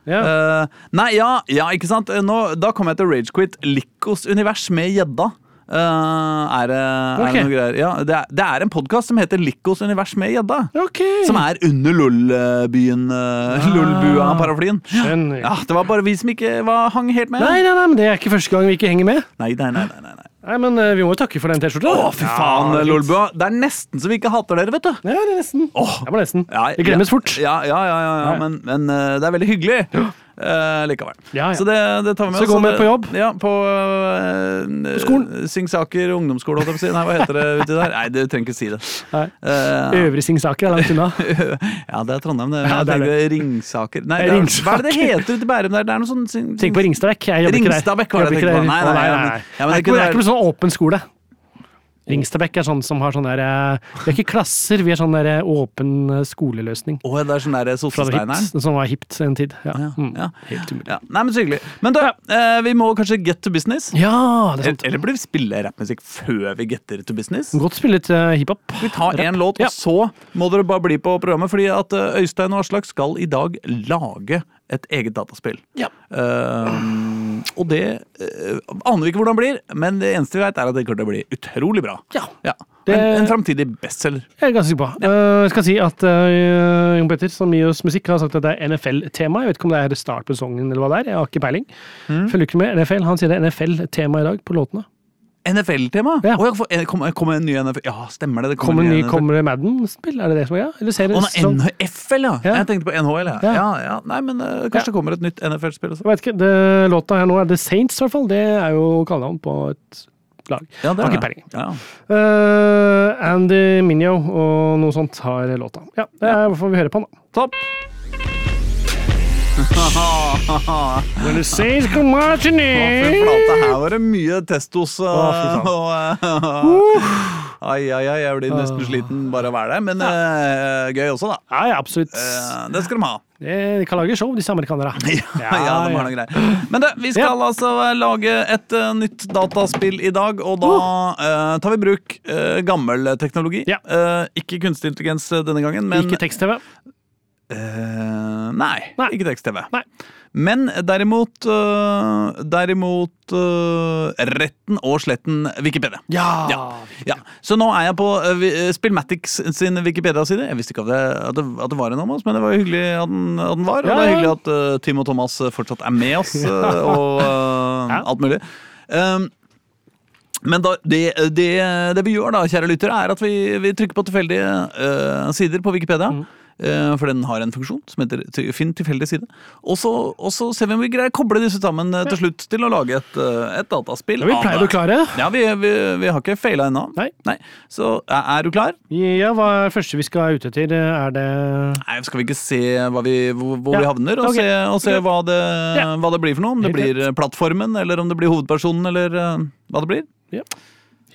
[SPEAKER 3] Ja.
[SPEAKER 1] eh, Nei, ja, ja, ikke sant? Eh, Nå, da kommer jeg til Ragequit. Likos univers med gjedda. Eh, er, det- er det
[SPEAKER 3] Ok.
[SPEAKER 1] noe greier? Ja, det, er, det er en podkast som heter Likos univers med gjedda.
[SPEAKER 3] ok.
[SPEAKER 1] Eh, Som er under LOL-byen. Uh, LOL-bua-paraflyen.
[SPEAKER 3] Ah. Skjønner.
[SPEAKER 1] Ja, det var bare vi som ikke var, hang helt med.
[SPEAKER 3] Nei, nei, nei, men det er ikke første gang vi ikke henger med.
[SPEAKER 1] Nei, nei, nei, nei, nei, nei.
[SPEAKER 3] Nei, men eh, vi må jo takke for den T-skjorta.
[SPEAKER 1] Å, fy faen,
[SPEAKER 3] ja, fint.
[SPEAKER 1] Lolbua. Det er nesten så vi ikke hater dere, vet du.
[SPEAKER 3] Ja, det er nesten.
[SPEAKER 1] Åh.
[SPEAKER 3] Det var nesten.
[SPEAKER 1] Ja,
[SPEAKER 3] det glemmes
[SPEAKER 1] ja,
[SPEAKER 3] fort.
[SPEAKER 1] Ja, ja, ja, ja, ja
[SPEAKER 3] Ja.
[SPEAKER 1] men, men eh, det er veldig hyggelig eh, likevel.
[SPEAKER 3] Ja, Ah, ja.
[SPEAKER 1] Så det, det tar vi med
[SPEAKER 3] Så
[SPEAKER 1] oss.
[SPEAKER 3] gå med
[SPEAKER 1] det-
[SPEAKER 3] på jobb.
[SPEAKER 1] Ja, på, eh,
[SPEAKER 3] skolen.
[SPEAKER 1] Singsaker ungdomsskole, holdt jeg på å si. Nei, hva heter det uti der? Nei, du trenger ikke si det.
[SPEAKER 3] Nei.
[SPEAKER 1] Eh,
[SPEAKER 3] Øvrige Singsaker er
[SPEAKER 1] <laughs>
[SPEAKER 3] langt unna.
[SPEAKER 1] ja, det er Trondheim, det. Men
[SPEAKER 3] Ja,
[SPEAKER 1] jeg
[SPEAKER 3] det er
[SPEAKER 1] tenkte Ringsaker Nei,
[SPEAKER 3] Nei,
[SPEAKER 1] det er, hva
[SPEAKER 3] Ringsaker.
[SPEAKER 1] er det det heter ute i Bærum der? Det er noe sånn sing,
[SPEAKER 3] Tenk på Ringstadbekk. Jeg jobber ikke der.
[SPEAKER 1] Ringstadbekk var det jeg
[SPEAKER 3] Jobber ikke
[SPEAKER 1] tenkte på.
[SPEAKER 3] der.
[SPEAKER 1] Nei, nei,
[SPEAKER 3] Å,
[SPEAKER 1] nei, nei. Ja, men
[SPEAKER 3] det,
[SPEAKER 1] det kunne
[SPEAKER 3] er ikke, det er ikke
[SPEAKER 1] vært-
[SPEAKER 3] noe sånn åpen skole. Ringstadbekk er sånn som har sånn der eh, Vi er ikke klasser, vi er sånn der eh, åpen eh, skoleløsning.
[SPEAKER 1] Å, ja, det er sånn der
[SPEAKER 3] Fra det
[SPEAKER 1] Sottesteineren?
[SPEAKER 3] hipt, som var hipt en tid. Ja.
[SPEAKER 1] Ja,
[SPEAKER 3] Mm.
[SPEAKER 1] ja.
[SPEAKER 3] Helt umulig.
[SPEAKER 1] ja. Nei, men så hyggelig. Men da, eh, vi må kanskje get to business?
[SPEAKER 3] Ja, det er sant.
[SPEAKER 1] Eller burde vi spille rappmusikk før vi getter to business?
[SPEAKER 3] Godt spillet eh, hiphop.
[SPEAKER 1] Vi tar én låt,
[SPEAKER 3] Ja.
[SPEAKER 1] og så må dere bare bli på programmet. Fordi at eh, Øystein og Aslak skal i dag lage et eget dataspill.
[SPEAKER 3] Ja.
[SPEAKER 1] Ehm, og det eh, aner vi ikke hvordan det blir, men det eneste vi vet, er at det kommer til å bli utrolig bra.
[SPEAKER 3] Ja.
[SPEAKER 1] Ja.
[SPEAKER 3] Det-
[SPEAKER 1] En, en framtidig bestselger.
[SPEAKER 3] Jeg er ganske sikker på. Eh, jeg skal si at eh, Jon Petter, som gir oss musikk, har sagt at det er NFL-tema. Jeg vet ikke om det er start på sesongen eller hva det er. Jeg har ikke peiling.
[SPEAKER 1] Mm.
[SPEAKER 3] Følger ikke med NFL. Han sier det er NFL-tema i dag på låtene.
[SPEAKER 1] NFL-tema!
[SPEAKER 3] Ja.
[SPEAKER 1] Å, ja, for- eh, kommer kom en ny NFL Ja, stemmer det. det
[SPEAKER 3] Kommer ny,
[SPEAKER 1] en NFL.
[SPEAKER 3] kommer det Madden-spill? Er det det som er greia? Eller ser det
[SPEAKER 1] Å, nei,
[SPEAKER 3] sånn-
[SPEAKER 1] NFL, ja.
[SPEAKER 3] Ja.
[SPEAKER 1] Jeg tenkte på NHL. Ja.
[SPEAKER 3] Ja.
[SPEAKER 1] Ja. Ja, Nei, men eh,
[SPEAKER 3] Ja.
[SPEAKER 1] kanskje det kommer et nytt NFL-spill også.
[SPEAKER 3] Jeg vet ikke. Det, låta her nå er The Saints, i hvert fall. Det er jo kallenavn på et lag.
[SPEAKER 1] Ja, det
[SPEAKER 3] Har
[SPEAKER 1] er
[SPEAKER 3] ikke
[SPEAKER 1] det.
[SPEAKER 3] peiling.
[SPEAKER 1] Ja.
[SPEAKER 3] Eh, Andy Minio og noe sånt har låta. Ja, det er hvorfor vi hører på den, da.
[SPEAKER 1] Topp!
[SPEAKER 3] When the Saints come marching
[SPEAKER 1] Å, fy
[SPEAKER 3] in
[SPEAKER 1] flate, her var det mye testos
[SPEAKER 3] Å, fy faen.
[SPEAKER 1] og, og, eh, <laughs> Ai, ai, ai, jeg blir nesten sliten bare av å være der, men eh, gøy også, da.
[SPEAKER 3] Ja, ja, absolutt.
[SPEAKER 1] Eh, det skal de ha.
[SPEAKER 3] Eh, De kan lage show, disse amerikanere.
[SPEAKER 1] Ja, ja, de har noen greier. Men du, vi skal altså lage et eh, nytt dataspill i dag, og da eh, tar vi i bruk eh, gammel teknologi.
[SPEAKER 3] Ja.
[SPEAKER 1] Eh, ikke kunstig intelligens eh, denne gangen, men
[SPEAKER 3] Ikke tekst-TV.
[SPEAKER 1] Eh, nei,
[SPEAKER 3] Nei.
[SPEAKER 1] ikke tekst-TV.
[SPEAKER 3] Nei.
[SPEAKER 1] Men derimot eh, Derimot eh, retten og sletten Wikipedia.
[SPEAKER 3] Ja.
[SPEAKER 1] Ja. Ja. Så nå er jeg på eh, vi- eh, Spillmatics sin Wikipedia-side. Jeg visste ikke at det, at, det, at det var en om oss, men det var jo hyggelig at den, at den var. Og
[SPEAKER 3] Ja,
[SPEAKER 1] det er
[SPEAKER 3] ja.
[SPEAKER 1] hyggelig at eh, Tim og Thomas eh, fortsatt er med oss, eh,
[SPEAKER 3] <laughs>
[SPEAKER 1] og eh,
[SPEAKER 3] Ja.
[SPEAKER 1] alt mulig. Um, men da, det, det, det vi gjør, da, kjære lyttere, er at vi, vi trykker på tilfeldige eh, sider på Wikipedia.
[SPEAKER 3] Mm.
[SPEAKER 1] eh, for den har en funksjon som heter ty- 'finn tilfeldig side'. Og så, og så ser vi om vi greier å koble disse sammen eh, til slutt til å lage et, eh, et dataspill.
[SPEAKER 3] Ja, vi
[SPEAKER 1] av
[SPEAKER 3] pleier
[SPEAKER 1] det.
[SPEAKER 3] å klare.
[SPEAKER 1] Ja, vi, vi, vi har ikke faila ennå.
[SPEAKER 3] Nei.
[SPEAKER 1] Så er er du klar?
[SPEAKER 3] Ja, hva er det første vi skal ut etter? Er det
[SPEAKER 1] Nei, Skal vi ikke se hva vi, hvor, hvor vi
[SPEAKER 3] Ja.
[SPEAKER 1] havner, og
[SPEAKER 3] Ok.
[SPEAKER 1] se, og se
[SPEAKER 3] Greit.
[SPEAKER 1] hva, det,
[SPEAKER 3] Ja.
[SPEAKER 1] hva det blir for noe? Om det
[SPEAKER 3] Helt
[SPEAKER 1] blir eh, plattformen, eller om det blir hovedpersonen, eller eh, hva det blir?
[SPEAKER 3] Ja.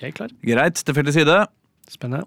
[SPEAKER 3] Jeg er klar.
[SPEAKER 1] Greit, tilfeldig side.
[SPEAKER 3] Spennende.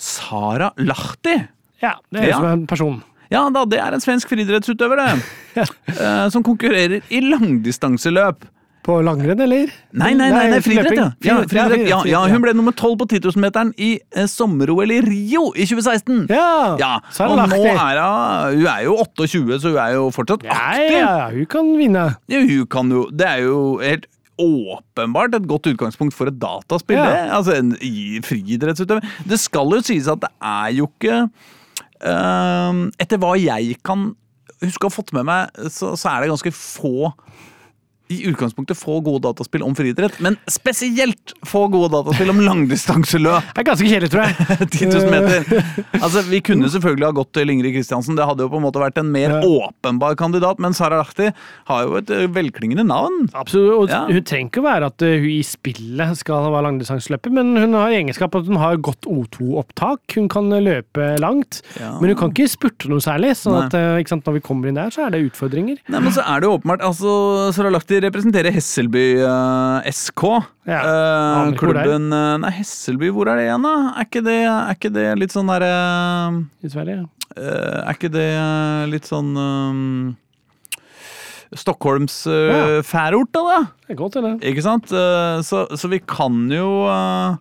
[SPEAKER 1] Sara Lahti.
[SPEAKER 3] Ja, det høres
[SPEAKER 1] Ja.
[SPEAKER 3] ut som en person.
[SPEAKER 1] Ja da, det er en svensk friidrettsutøver,
[SPEAKER 3] <laughs>
[SPEAKER 1] det. Eh, som konkurrerer i langdistanseløp.
[SPEAKER 3] På langrenn, eller?
[SPEAKER 1] Nei, nei, nei, nei friidrett, ja.
[SPEAKER 3] løping.
[SPEAKER 1] Ja,
[SPEAKER 3] Friidrett,
[SPEAKER 1] friidrett, ja, ja. Hun
[SPEAKER 3] friidrett,
[SPEAKER 1] ble nummer tolv på 10 000-meteren i eh, sommer-OL i Rio i 2016.
[SPEAKER 3] Ja,
[SPEAKER 1] Ja,
[SPEAKER 3] så
[SPEAKER 1] Og
[SPEAKER 3] er det
[SPEAKER 1] nå
[SPEAKER 3] Lahti.
[SPEAKER 1] er hun Hun er jo 28, så hun er jo fortsatt
[SPEAKER 3] Ja,
[SPEAKER 1] aktiv.
[SPEAKER 3] ja, hun kan vinne.
[SPEAKER 1] Ja, hun kan jo Det er jo helt åpenbart et godt utgangspunkt for et dataspill.
[SPEAKER 3] Ja.
[SPEAKER 1] Det. Altså en i- friidrettsutøver. Det skal jo sies at det er jo ikke ehm, Etter hva jeg kan huske å ha fått med meg, så, så er det ganske få i utgangspunktet få gode dataspill om friidrett, men spesielt få gode dataspill om langdistanseløp.
[SPEAKER 3] Det er ganske kjedelig, tror jeg.
[SPEAKER 1] 10 000 meter. Altså, vi kunne selvfølgelig ha gått til Ingrid Kristiansen. Det hadde jo på en måte vært en mer
[SPEAKER 3] Ja.
[SPEAKER 1] åpenbar kandidat, men Sara Lahti har jo et eh, velklingende navn.
[SPEAKER 3] Absolutt. Og
[SPEAKER 1] Ja.
[SPEAKER 3] hun trenger ikke å være at uh, hun i spillet skal være langdistanseløper, men hun har egenskap at hun har godt O2-opptak. Hun kan uh, løpe langt,
[SPEAKER 1] Ja.
[SPEAKER 3] men hun kan ikke spurte noe særlig. sånn
[SPEAKER 1] Nei.
[SPEAKER 3] at uh, ikke sant, når vi kommer inn der, så er det utfordringer.
[SPEAKER 1] Nei, men så er det jo åpenbart altså, Sara Lahti representerer Hesselby eh, SK.
[SPEAKER 3] Ja,
[SPEAKER 1] Eh,
[SPEAKER 3] aner ikke hvor det er.
[SPEAKER 1] klubben eh, Nei, Hesselby, hvor er det igjen, da? Er ikke det, er ikke det litt sånn derre
[SPEAKER 3] I Sverige.
[SPEAKER 1] Er ikke det eh, litt sånn eh, Stockholms uh,
[SPEAKER 3] Ja.
[SPEAKER 1] færort, da? da?
[SPEAKER 3] Det er godt, eller?
[SPEAKER 1] Ikke sant? Eh, Så, så vi kan jo eh,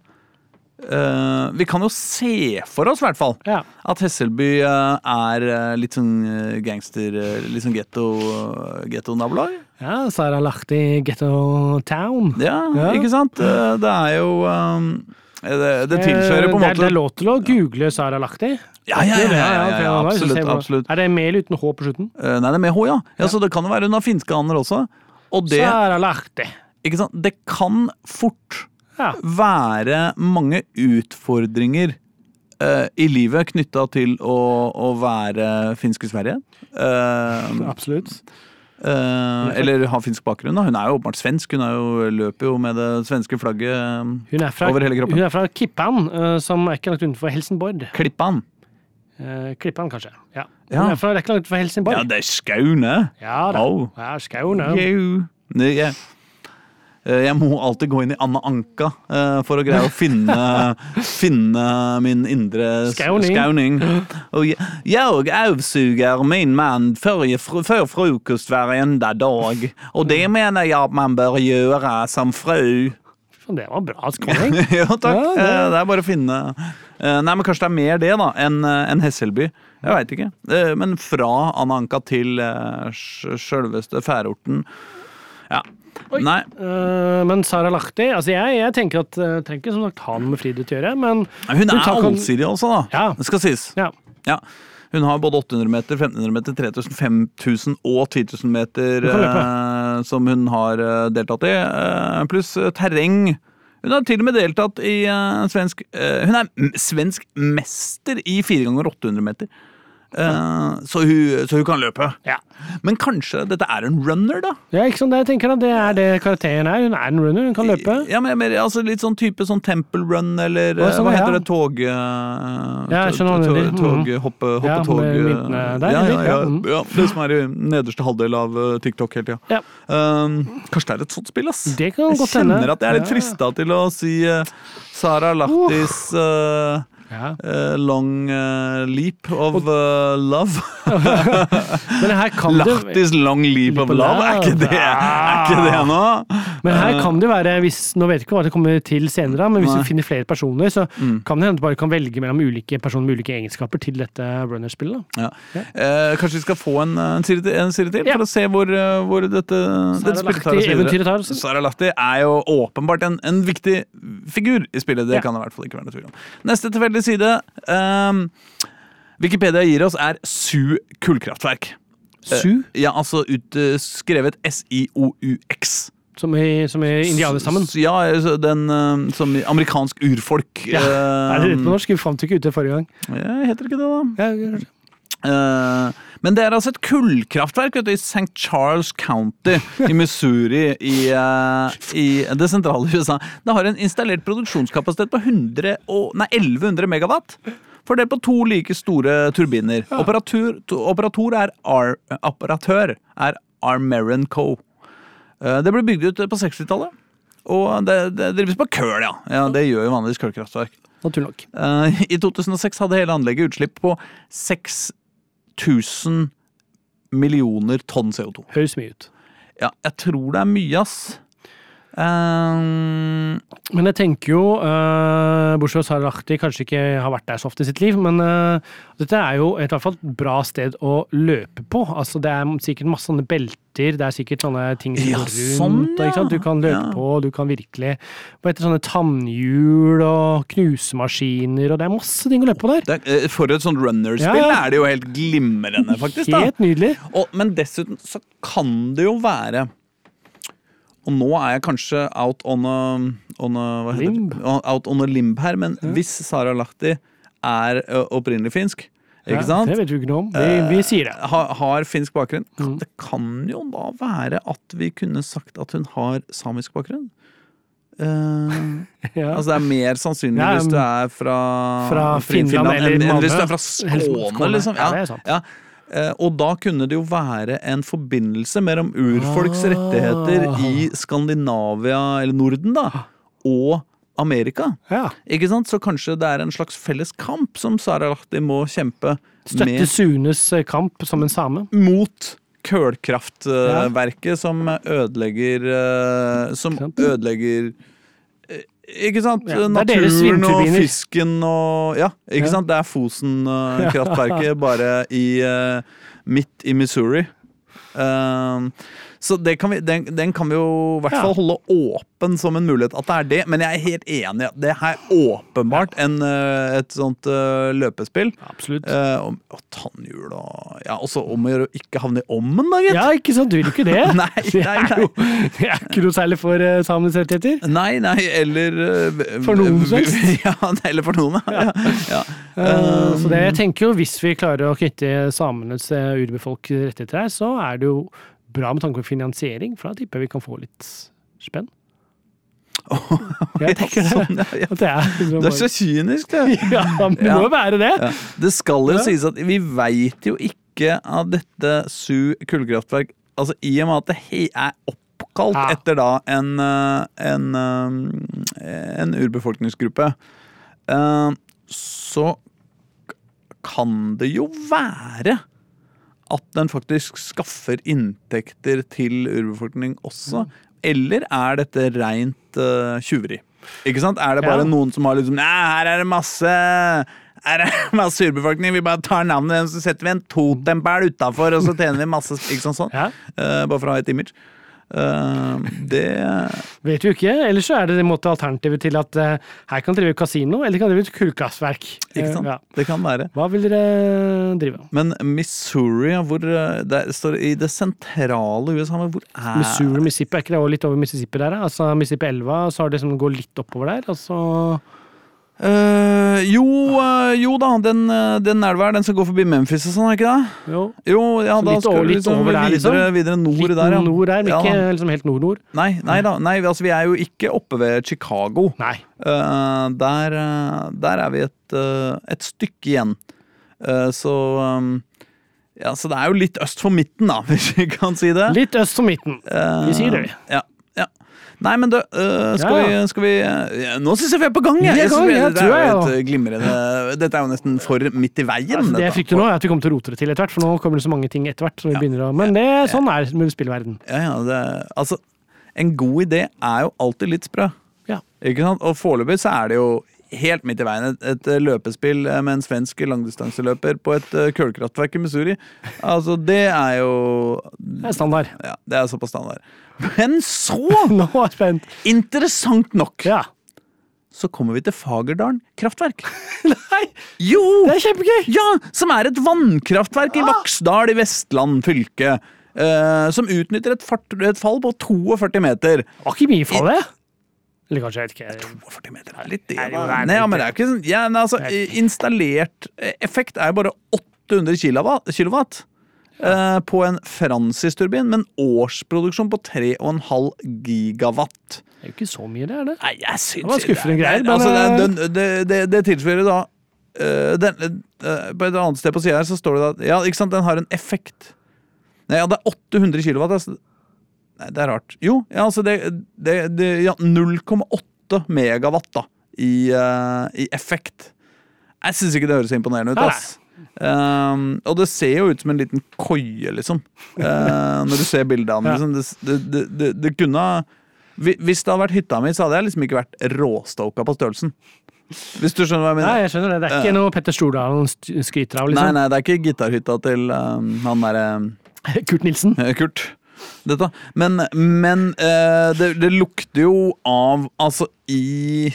[SPEAKER 1] eh, Vi kan jo se for oss, i hvert fall,
[SPEAKER 3] Ja.
[SPEAKER 1] at Hesselby eh, er eh, litt sånn eh, gangster, eh, litt sånn getto- getto-nabolag.
[SPEAKER 3] ja Sara Lahti, Ghetto Town.
[SPEAKER 1] ja,
[SPEAKER 3] Ja.
[SPEAKER 1] ikke sant? Eh, Det er jo eh, det, det tilfører på en
[SPEAKER 3] Eh, Det er- det
[SPEAKER 1] måte
[SPEAKER 3] er lov til å google Sara Lahti.
[SPEAKER 1] Ja, ja, ja, ja, ja, ja,
[SPEAKER 3] for jeg var-
[SPEAKER 1] absolutt.
[SPEAKER 3] jeg var-
[SPEAKER 1] absolutt.
[SPEAKER 3] Er det mel uten H på slutten?
[SPEAKER 1] Eh, Nei, det er med H, ja. ja. Så det kan jo være hun har finske aner også. Og det,
[SPEAKER 3] Sara Lahti.
[SPEAKER 1] ikke sant? det kan fort
[SPEAKER 3] Ja.
[SPEAKER 1] være mange utfordringer eh, i livet knytta til å, å være finsk i Sverige. Eh,
[SPEAKER 3] Absolutt.
[SPEAKER 1] eh, eller ha finsk bakgrunn. Da. Hun er jo åpenbart svensk. Hun er jo, løper jo med det svenske flagget. eh,
[SPEAKER 3] Hun er fra,
[SPEAKER 1] Over hele kroppen.
[SPEAKER 3] Hun er fra Kippan, eh, som er ikke langt utenfor Helsingborg.
[SPEAKER 1] Klippan!
[SPEAKER 3] Eh, Klippan, kanskje. Ja.
[SPEAKER 1] Ja.
[SPEAKER 3] Hun er fra, det er ikke langt utenfor
[SPEAKER 1] Ja,
[SPEAKER 3] Helsingborg.
[SPEAKER 1] det er Skaune!
[SPEAKER 3] Ja da.
[SPEAKER 1] Au.
[SPEAKER 3] Ja, Skaune.
[SPEAKER 1] Jau. Nei, jeg- eh, Jeg må alltid gå inn i Anna Anka eh, for å greie å finne, finne min indre s-
[SPEAKER 3] Skauning.
[SPEAKER 1] skauning. Og jeg, jeg avsuger min mann før, jeg fr- før frokost hver enda dag. Og det mener jeg at man bør gjøre som fru.
[SPEAKER 3] Faen, Det var bra
[SPEAKER 1] <laughs>
[SPEAKER 3] skåring.
[SPEAKER 1] ja, takk.
[SPEAKER 3] Ja, det-
[SPEAKER 1] Eh, Det er bare å finne eh, Nei, men kanskje det er mer det da enn eh, enn Hesselby. Jeg veit ikke. Eh, Men fra Anna Anka til eh, sj- sjølveste Færorten. Ja. Nei.
[SPEAKER 3] Eh, men Sara Lahti altså jeg, jeg tenker at eh, trenger ikke som sagt ha noe med friidrett å gjøre, men
[SPEAKER 1] Hun er
[SPEAKER 3] tar kon-
[SPEAKER 1] allsidig også, da.
[SPEAKER 3] Ja.
[SPEAKER 1] Det skal sies.
[SPEAKER 3] Ja.
[SPEAKER 1] Ja. Hun har både 800 meter, 1500 meter, 3000, 5000 og 10 000 meter
[SPEAKER 3] Hun kan løpe.
[SPEAKER 1] eh, som hun har eh, deltatt i, eh, pluss eh, terreng. Hun har til og med deltatt i eh, svensk eh, Hun er m- svensk mester i 4 ganger 800 meter. Eh, så, hun, så hun kan løpe.
[SPEAKER 3] Ja.
[SPEAKER 1] Men kanskje dette er en runner, da?
[SPEAKER 3] ja, ikke sant? Det jeg tenker da, det er det karakteren er. Hun er en runner, hun kan løpe.
[SPEAKER 1] Ja, men, jeg mener, altså Litt sånn type sånn Temple Run, eller
[SPEAKER 3] Å,
[SPEAKER 1] eh,
[SPEAKER 3] sånn,
[SPEAKER 1] hva heter
[SPEAKER 3] ja.
[SPEAKER 1] det, tog...
[SPEAKER 3] Ja, jeg skjønner hva du mener. Mhm.
[SPEAKER 1] hoppe, hoppe
[SPEAKER 3] Ja, med
[SPEAKER 1] tog... eh,
[SPEAKER 3] myntene der,
[SPEAKER 1] ja, ja, ja,
[SPEAKER 3] eller? Ja, mhm.
[SPEAKER 1] ja, det som er i nederste halvdel av eh, TikTok hele tida.
[SPEAKER 3] Ja.
[SPEAKER 1] Um, kanskje det er et sånt spill, ass.
[SPEAKER 3] Det kan
[SPEAKER 1] jeg
[SPEAKER 3] godt hende.
[SPEAKER 1] kjenner at jeg er litt
[SPEAKER 3] Ja.
[SPEAKER 1] frista til å si eh, Sara Lahtis
[SPEAKER 3] Oh.
[SPEAKER 1] eh,
[SPEAKER 3] Ja.
[SPEAKER 1] eh, Long eh, Leap of eh, Love.
[SPEAKER 3] Men her kan det
[SPEAKER 1] <laughs> Lahtis Long Leap of
[SPEAKER 3] Leap of
[SPEAKER 1] Love, er ikke det,
[SPEAKER 3] Love. Ah.
[SPEAKER 1] er ikke det noe?
[SPEAKER 3] men her kan det jo være, hvis, nå vet jeg ikke hva det kommer til senere, da, men hvis
[SPEAKER 1] Eh. Nei. Mm.
[SPEAKER 3] du finner flere personer, så kan det hende du bare kan velge mellom ulike personer med ulike egenskaper til dette runnerspillet. da.
[SPEAKER 1] Ja. Eh, kanskje vi skal få en, eh, en serie til, en serie til
[SPEAKER 3] Ja.
[SPEAKER 1] for å se hvor, eh, hvor dette, dette spillet tar oss
[SPEAKER 3] Lahti-eventyret tar
[SPEAKER 1] videre.
[SPEAKER 3] oss.
[SPEAKER 1] Sara Lahti er jo åpenbart en, en viktig figur i spillet. Det
[SPEAKER 3] Ja.
[SPEAKER 1] kan det i hvert fall ikke være noe tvil om. Neste tilfeldig side ehm, Wikipedia gir oss, er Su kullkraftverk.
[SPEAKER 3] Su,
[SPEAKER 1] Ja, altså ut, eh, skrevet S-I-O-U-X.
[SPEAKER 3] som i, som i indianerstammen.
[SPEAKER 1] S- Ja, altså den eh, som i amerikansk urfolk.
[SPEAKER 3] Ja. Er det rett på
[SPEAKER 1] eh,
[SPEAKER 3] norsk? Vi fant det ikke ut det forrige gang.
[SPEAKER 1] ja, heter det ikke det, da?
[SPEAKER 3] Ja, kanskje.
[SPEAKER 1] Eh, Men det er altså et kullkraftverk vet du, i St. Charles County i Missouri i, eh, i det sentrale USA. Det har en installert produksjonskapasitet på 100 og, nei, 1100 megawatt. Fordelt på to like store turbiner. Operatur, to, operator er Ar, apparatør er Armeren Co. Eh, Det ble bygd ut på 60-tallet. Og det, det drives på køl, ja. ja. Det gjør jo vanligvis kullkraftverk.
[SPEAKER 3] Naturlig nok.
[SPEAKER 1] Eh, I 2006 hadde hele anlegget utslipp på 6000 millioner tonn CO2.
[SPEAKER 3] Høres mye ut.
[SPEAKER 1] Ja, jeg tror det er mye, ass. Eh,
[SPEAKER 3] Men jeg tenker jo, uh, bortsett fra Sarahti kanskje ikke har vært der så ofte i sitt liv, men eh, dette er jo et i hvert fall et bra sted å løpe på. Altså, det er sikkert masse sånne belter, det er sikkert sånne ting som
[SPEAKER 1] Ja,
[SPEAKER 3] går rundt.
[SPEAKER 1] sånn,
[SPEAKER 3] og, ikke sant? Du kan løpe
[SPEAKER 1] ja.
[SPEAKER 3] på, du kan virkelig Hva heter det, sånne tannhjul og knusemaskiner, og det er masse ting å løpe på der.
[SPEAKER 1] det er, eh, for et sånt runnerspill
[SPEAKER 3] Ja, ja.
[SPEAKER 1] er det jo helt glimrende, faktisk. da.
[SPEAKER 3] Helt nydelig.
[SPEAKER 1] Og, men dessuten så kan det jo være Og nå er jeg kanskje out on a, on a hva heter
[SPEAKER 3] Limb.
[SPEAKER 1] det? Out on a limb her, men hvis Sara Lahti er ø, opprinnelig finsk, ikke sant?
[SPEAKER 3] Ja, det vet vi ikke noe om. Vi, vi sier det.
[SPEAKER 1] har, har finsk bakgrunn.
[SPEAKER 3] Mm.
[SPEAKER 1] Kan- Det kan jo da være at vi kunne sagt at hun har samisk bakgrunn. Eh,
[SPEAKER 3] <laughs> Ja.
[SPEAKER 1] altså Det er mer sannsynlig
[SPEAKER 3] Ja, um,
[SPEAKER 1] hvis du er fra,
[SPEAKER 3] fra Finland eller
[SPEAKER 1] enn, enn
[SPEAKER 3] Malmö.
[SPEAKER 1] hvis du er fra
[SPEAKER 3] Eller
[SPEAKER 1] Skåne,
[SPEAKER 3] Skåne.
[SPEAKER 1] liksom.
[SPEAKER 3] Ja, det
[SPEAKER 1] Ja,
[SPEAKER 3] er sant.
[SPEAKER 1] ja. Eh, Og da kunne det jo være en forbindelse mellom urfolks
[SPEAKER 3] Ah.
[SPEAKER 1] rettigheter i Skandinavia, eller Norden, da, og Amerika.
[SPEAKER 3] ja.
[SPEAKER 1] Ikke sant? Så kanskje det er en slags felles kamp som Sara Lahti må kjempe
[SPEAKER 3] Støtte
[SPEAKER 1] med
[SPEAKER 3] Sunes eh, kamp som en same.
[SPEAKER 1] mot kullkraftverket som ødelegger eh, Som
[SPEAKER 3] Ikke sant?
[SPEAKER 1] ødelegger eh, Ikke sant?
[SPEAKER 3] Ja, det er deres
[SPEAKER 1] Naturen og
[SPEAKER 3] vindturbiner.
[SPEAKER 1] fisken og Ja, ikke
[SPEAKER 3] Ja.
[SPEAKER 1] sant? Det er
[SPEAKER 3] <laughs>
[SPEAKER 1] Fosen-kraftverket, bare i eh, midt i Missouri. Eh, så det kan vi, den, den kan vi jo i hvert
[SPEAKER 3] Ja.
[SPEAKER 1] fall holde åpen som en mulighet at det er det. Men jeg er helt enig. i at Det er åpenbart en, eh, et sånt eh, løpespill.
[SPEAKER 3] Absolutt.
[SPEAKER 1] Eh, om, og tannhjul og Ja, også om å gjøre å ikke havne i ommen, da, gitt.
[SPEAKER 3] <laughs> Ja, ikke sant? Du vil ikke det?
[SPEAKER 1] <laughs> Nei,
[SPEAKER 3] det
[SPEAKER 1] nei,
[SPEAKER 3] er
[SPEAKER 1] nei.
[SPEAKER 3] jo <laughs> det er ikke noe særlig for uh, samenes rettigheter.
[SPEAKER 1] Nei, nei, eller eh,
[SPEAKER 3] For noen
[SPEAKER 1] eh,
[SPEAKER 3] slags.
[SPEAKER 1] <laughs> Ja, eller for noen, ja. ja.
[SPEAKER 3] Eh, så det, jeg tenker jo Hvis vi klarer å knytte samenes eh, urbefolk rettigheter her, så er det jo bra med tanke på finansiering, for da tipper jeg vi kan få litt
[SPEAKER 1] <laughs>
[SPEAKER 3] spenn. jeg tenker det.
[SPEAKER 1] Sånn, ja, ja.
[SPEAKER 3] <laughs> At det er, liksom
[SPEAKER 1] Du er så kynisk, du.
[SPEAKER 3] <laughs> Ja, men det må jo være det!
[SPEAKER 1] Ja. Det skal jo
[SPEAKER 3] Ja.
[SPEAKER 1] sies at vi veit jo ikke av dette Su kullkraftverk Altså I og med at det he er oppkalt
[SPEAKER 3] Ja.
[SPEAKER 1] etter da en, eh, en, eh, en urbefolkningsgruppe, eh, så k- kan det jo være at den faktisk skaffer inntekter til urbefolkning også.
[SPEAKER 3] Mm.
[SPEAKER 1] Eller er dette rent eh, tjuveri? Ikke sant? Er det bare
[SPEAKER 3] Ja.
[SPEAKER 1] noen som har liksom Nei, her er det masse her er det masse urbefolkning. Vi bare tar navnet deres, så setter vi en totempæl utafor, og så tjener vi masse Ikke sant sånn?
[SPEAKER 3] Ja,
[SPEAKER 1] Eh, bare for å ha et image. Eh, det
[SPEAKER 3] vet vi jo ikke. Eller så er det det måte alternativet til at eh, her kan drive kasino, eller kan drive et kullkraftverk.
[SPEAKER 1] Ikke
[SPEAKER 3] Eh,
[SPEAKER 1] sant?
[SPEAKER 3] ja.
[SPEAKER 1] Det kan være.
[SPEAKER 3] Hva vil dere drive?
[SPEAKER 1] Men Missouri, hvor eh, Det står i det sentrale USA, men hvor er
[SPEAKER 3] Missouri, Mississippi, liksom er ikke det også litt over Mississippi der? da? Altså Mississippi elva, så har det som går litt oppover der, og så
[SPEAKER 1] Eh, jo, eh, jo da, den, uh, den elva her, den skal gå forbi Memphis og sånn, er ikke det?
[SPEAKER 3] Jo,
[SPEAKER 1] Jo, ja,
[SPEAKER 3] Så
[SPEAKER 1] da
[SPEAKER 3] litt
[SPEAKER 1] skal
[SPEAKER 3] over-
[SPEAKER 1] du
[SPEAKER 3] litt
[SPEAKER 1] liksom
[SPEAKER 3] over der,
[SPEAKER 1] videre,
[SPEAKER 3] liksom?
[SPEAKER 1] videre nord
[SPEAKER 3] litt
[SPEAKER 1] der, ja.
[SPEAKER 3] nord der, men
[SPEAKER 1] Ja,
[SPEAKER 3] ikke
[SPEAKER 1] da.
[SPEAKER 3] liksom helt nord-nord.
[SPEAKER 1] Nei, nei da. Nei, vi- altså, vi er jo ikke oppe ved Chicago.
[SPEAKER 3] Nei.
[SPEAKER 1] Eh, der, eh, der er vi et, eh, et stykke igjen. Eh, så um, Ja, så det er jo litt øst for midten, da, <laughs> hvis vi kan si det.
[SPEAKER 3] Litt øst for midten.
[SPEAKER 1] Eh,
[SPEAKER 3] vi sier det, vi.
[SPEAKER 1] Ja. ja. Nei, men du, eh, skal,
[SPEAKER 3] Ja, ja.
[SPEAKER 1] Vi, skal vi eh, Nå syns jeg vi er på gang! jeg.
[SPEAKER 3] Vi er i gang,
[SPEAKER 1] synes
[SPEAKER 3] jeg
[SPEAKER 1] det er
[SPEAKER 3] tror jeg,
[SPEAKER 1] jo et glimrende Dette er jo nesten for midt i veien.
[SPEAKER 3] Altså, det jeg
[SPEAKER 1] dette.
[SPEAKER 3] frykter nå, er at vi kommer til å rote det til etter hvert, for nå kommer det så mange ting etter hvert. som vi begynner å... Men det, sånn er det med spillverden.
[SPEAKER 1] Ja, ja, det, altså, en god idé er jo alltid litt sprø.
[SPEAKER 3] Ja.
[SPEAKER 1] Ikke sant? Og foreløpig så er det jo helt midt i veien et, et løpespill eh, med en svensk langdistanseløper på et eh, kullkraftverk i Missouri. Altså, det er jo
[SPEAKER 3] Det er standard.
[SPEAKER 1] Ja, det er såpass standard. Men så,
[SPEAKER 3] <laughs> Nå er jeg spent.
[SPEAKER 1] interessant nok,
[SPEAKER 3] Ja. <laughs>
[SPEAKER 1] så kommer vi til Fagerdalen kraftverk.
[SPEAKER 3] Nei,
[SPEAKER 1] Jo!
[SPEAKER 3] det er Ah. kjempegøy!
[SPEAKER 1] Ja, som er et vannkraftverk i Vaksdal i Vestland fylke. eh, som utnytter et, fart, et fall på 42 meter.
[SPEAKER 3] Det var ikke mye fall, det. Eller kanskje, jeg vet ikke.
[SPEAKER 1] 42 meter er litt det, da.
[SPEAKER 3] Nei, det er
[SPEAKER 1] Nei, ja,
[SPEAKER 3] litt
[SPEAKER 1] men det er ikke sånn ja, men altså,
[SPEAKER 3] Det er-
[SPEAKER 1] Installert eh, effekt er bare 800 kilowatt, kilowatt eh, på en Francis-turbin, men årsproduksjon på 3,5 gigawatt.
[SPEAKER 3] Det er jo ikke så mye, det, er det?
[SPEAKER 1] Nei, jeg syns
[SPEAKER 3] var skuffende
[SPEAKER 1] det er-
[SPEAKER 3] greier, men, eh,
[SPEAKER 1] altså, det, er- den- det, det, det tilsvarer da eh, den, eh, På et annet sted på sida her så står det at Ja, ikke sant, den har en effekt. Nei, ja, det er 800 kilowatt. Altså. Nei, det er rart. Jo, ja, altså det, det, det Ja, 0,8 megawatt, da, i, eh, i effekt. Jeg syns ikke det høres så imponerende ut.
[SPEAKER 3] Nei,
[SPEAKER 1] ass. Ehm, og det ser jo ut som en liten koie, liksom. Eh, når du ser bildet av den.
[SPEAKER 3] Ja.
[SPEAKER 1] Liksom, det, det, det, det, det kunne ha- Hvi- Hvis det hadde vært hytta mi, så hadde jeg liksom ikke vært råstoka på størrelsen. Hvis du skjønner hva jeg
[SPEAKER 3] Nei,
[SPEAKER 1] mener?
[SPEAKER 3] jeg skjønner det. Det er ikke noe Petter Stordalen st- skryter av,
[SPEAKER 1] Nei,
[SPEAKER 3] liksom.
[SPEAKER 1] nei, det er ikke gitarhytta til ehm, han derre
[SPEAKER 3] <laughs> Kurt Nilsen.
[SPEAKER 1] Eh, Kurt. Dette. Men, men eh, det, det lukter jo av Altså, i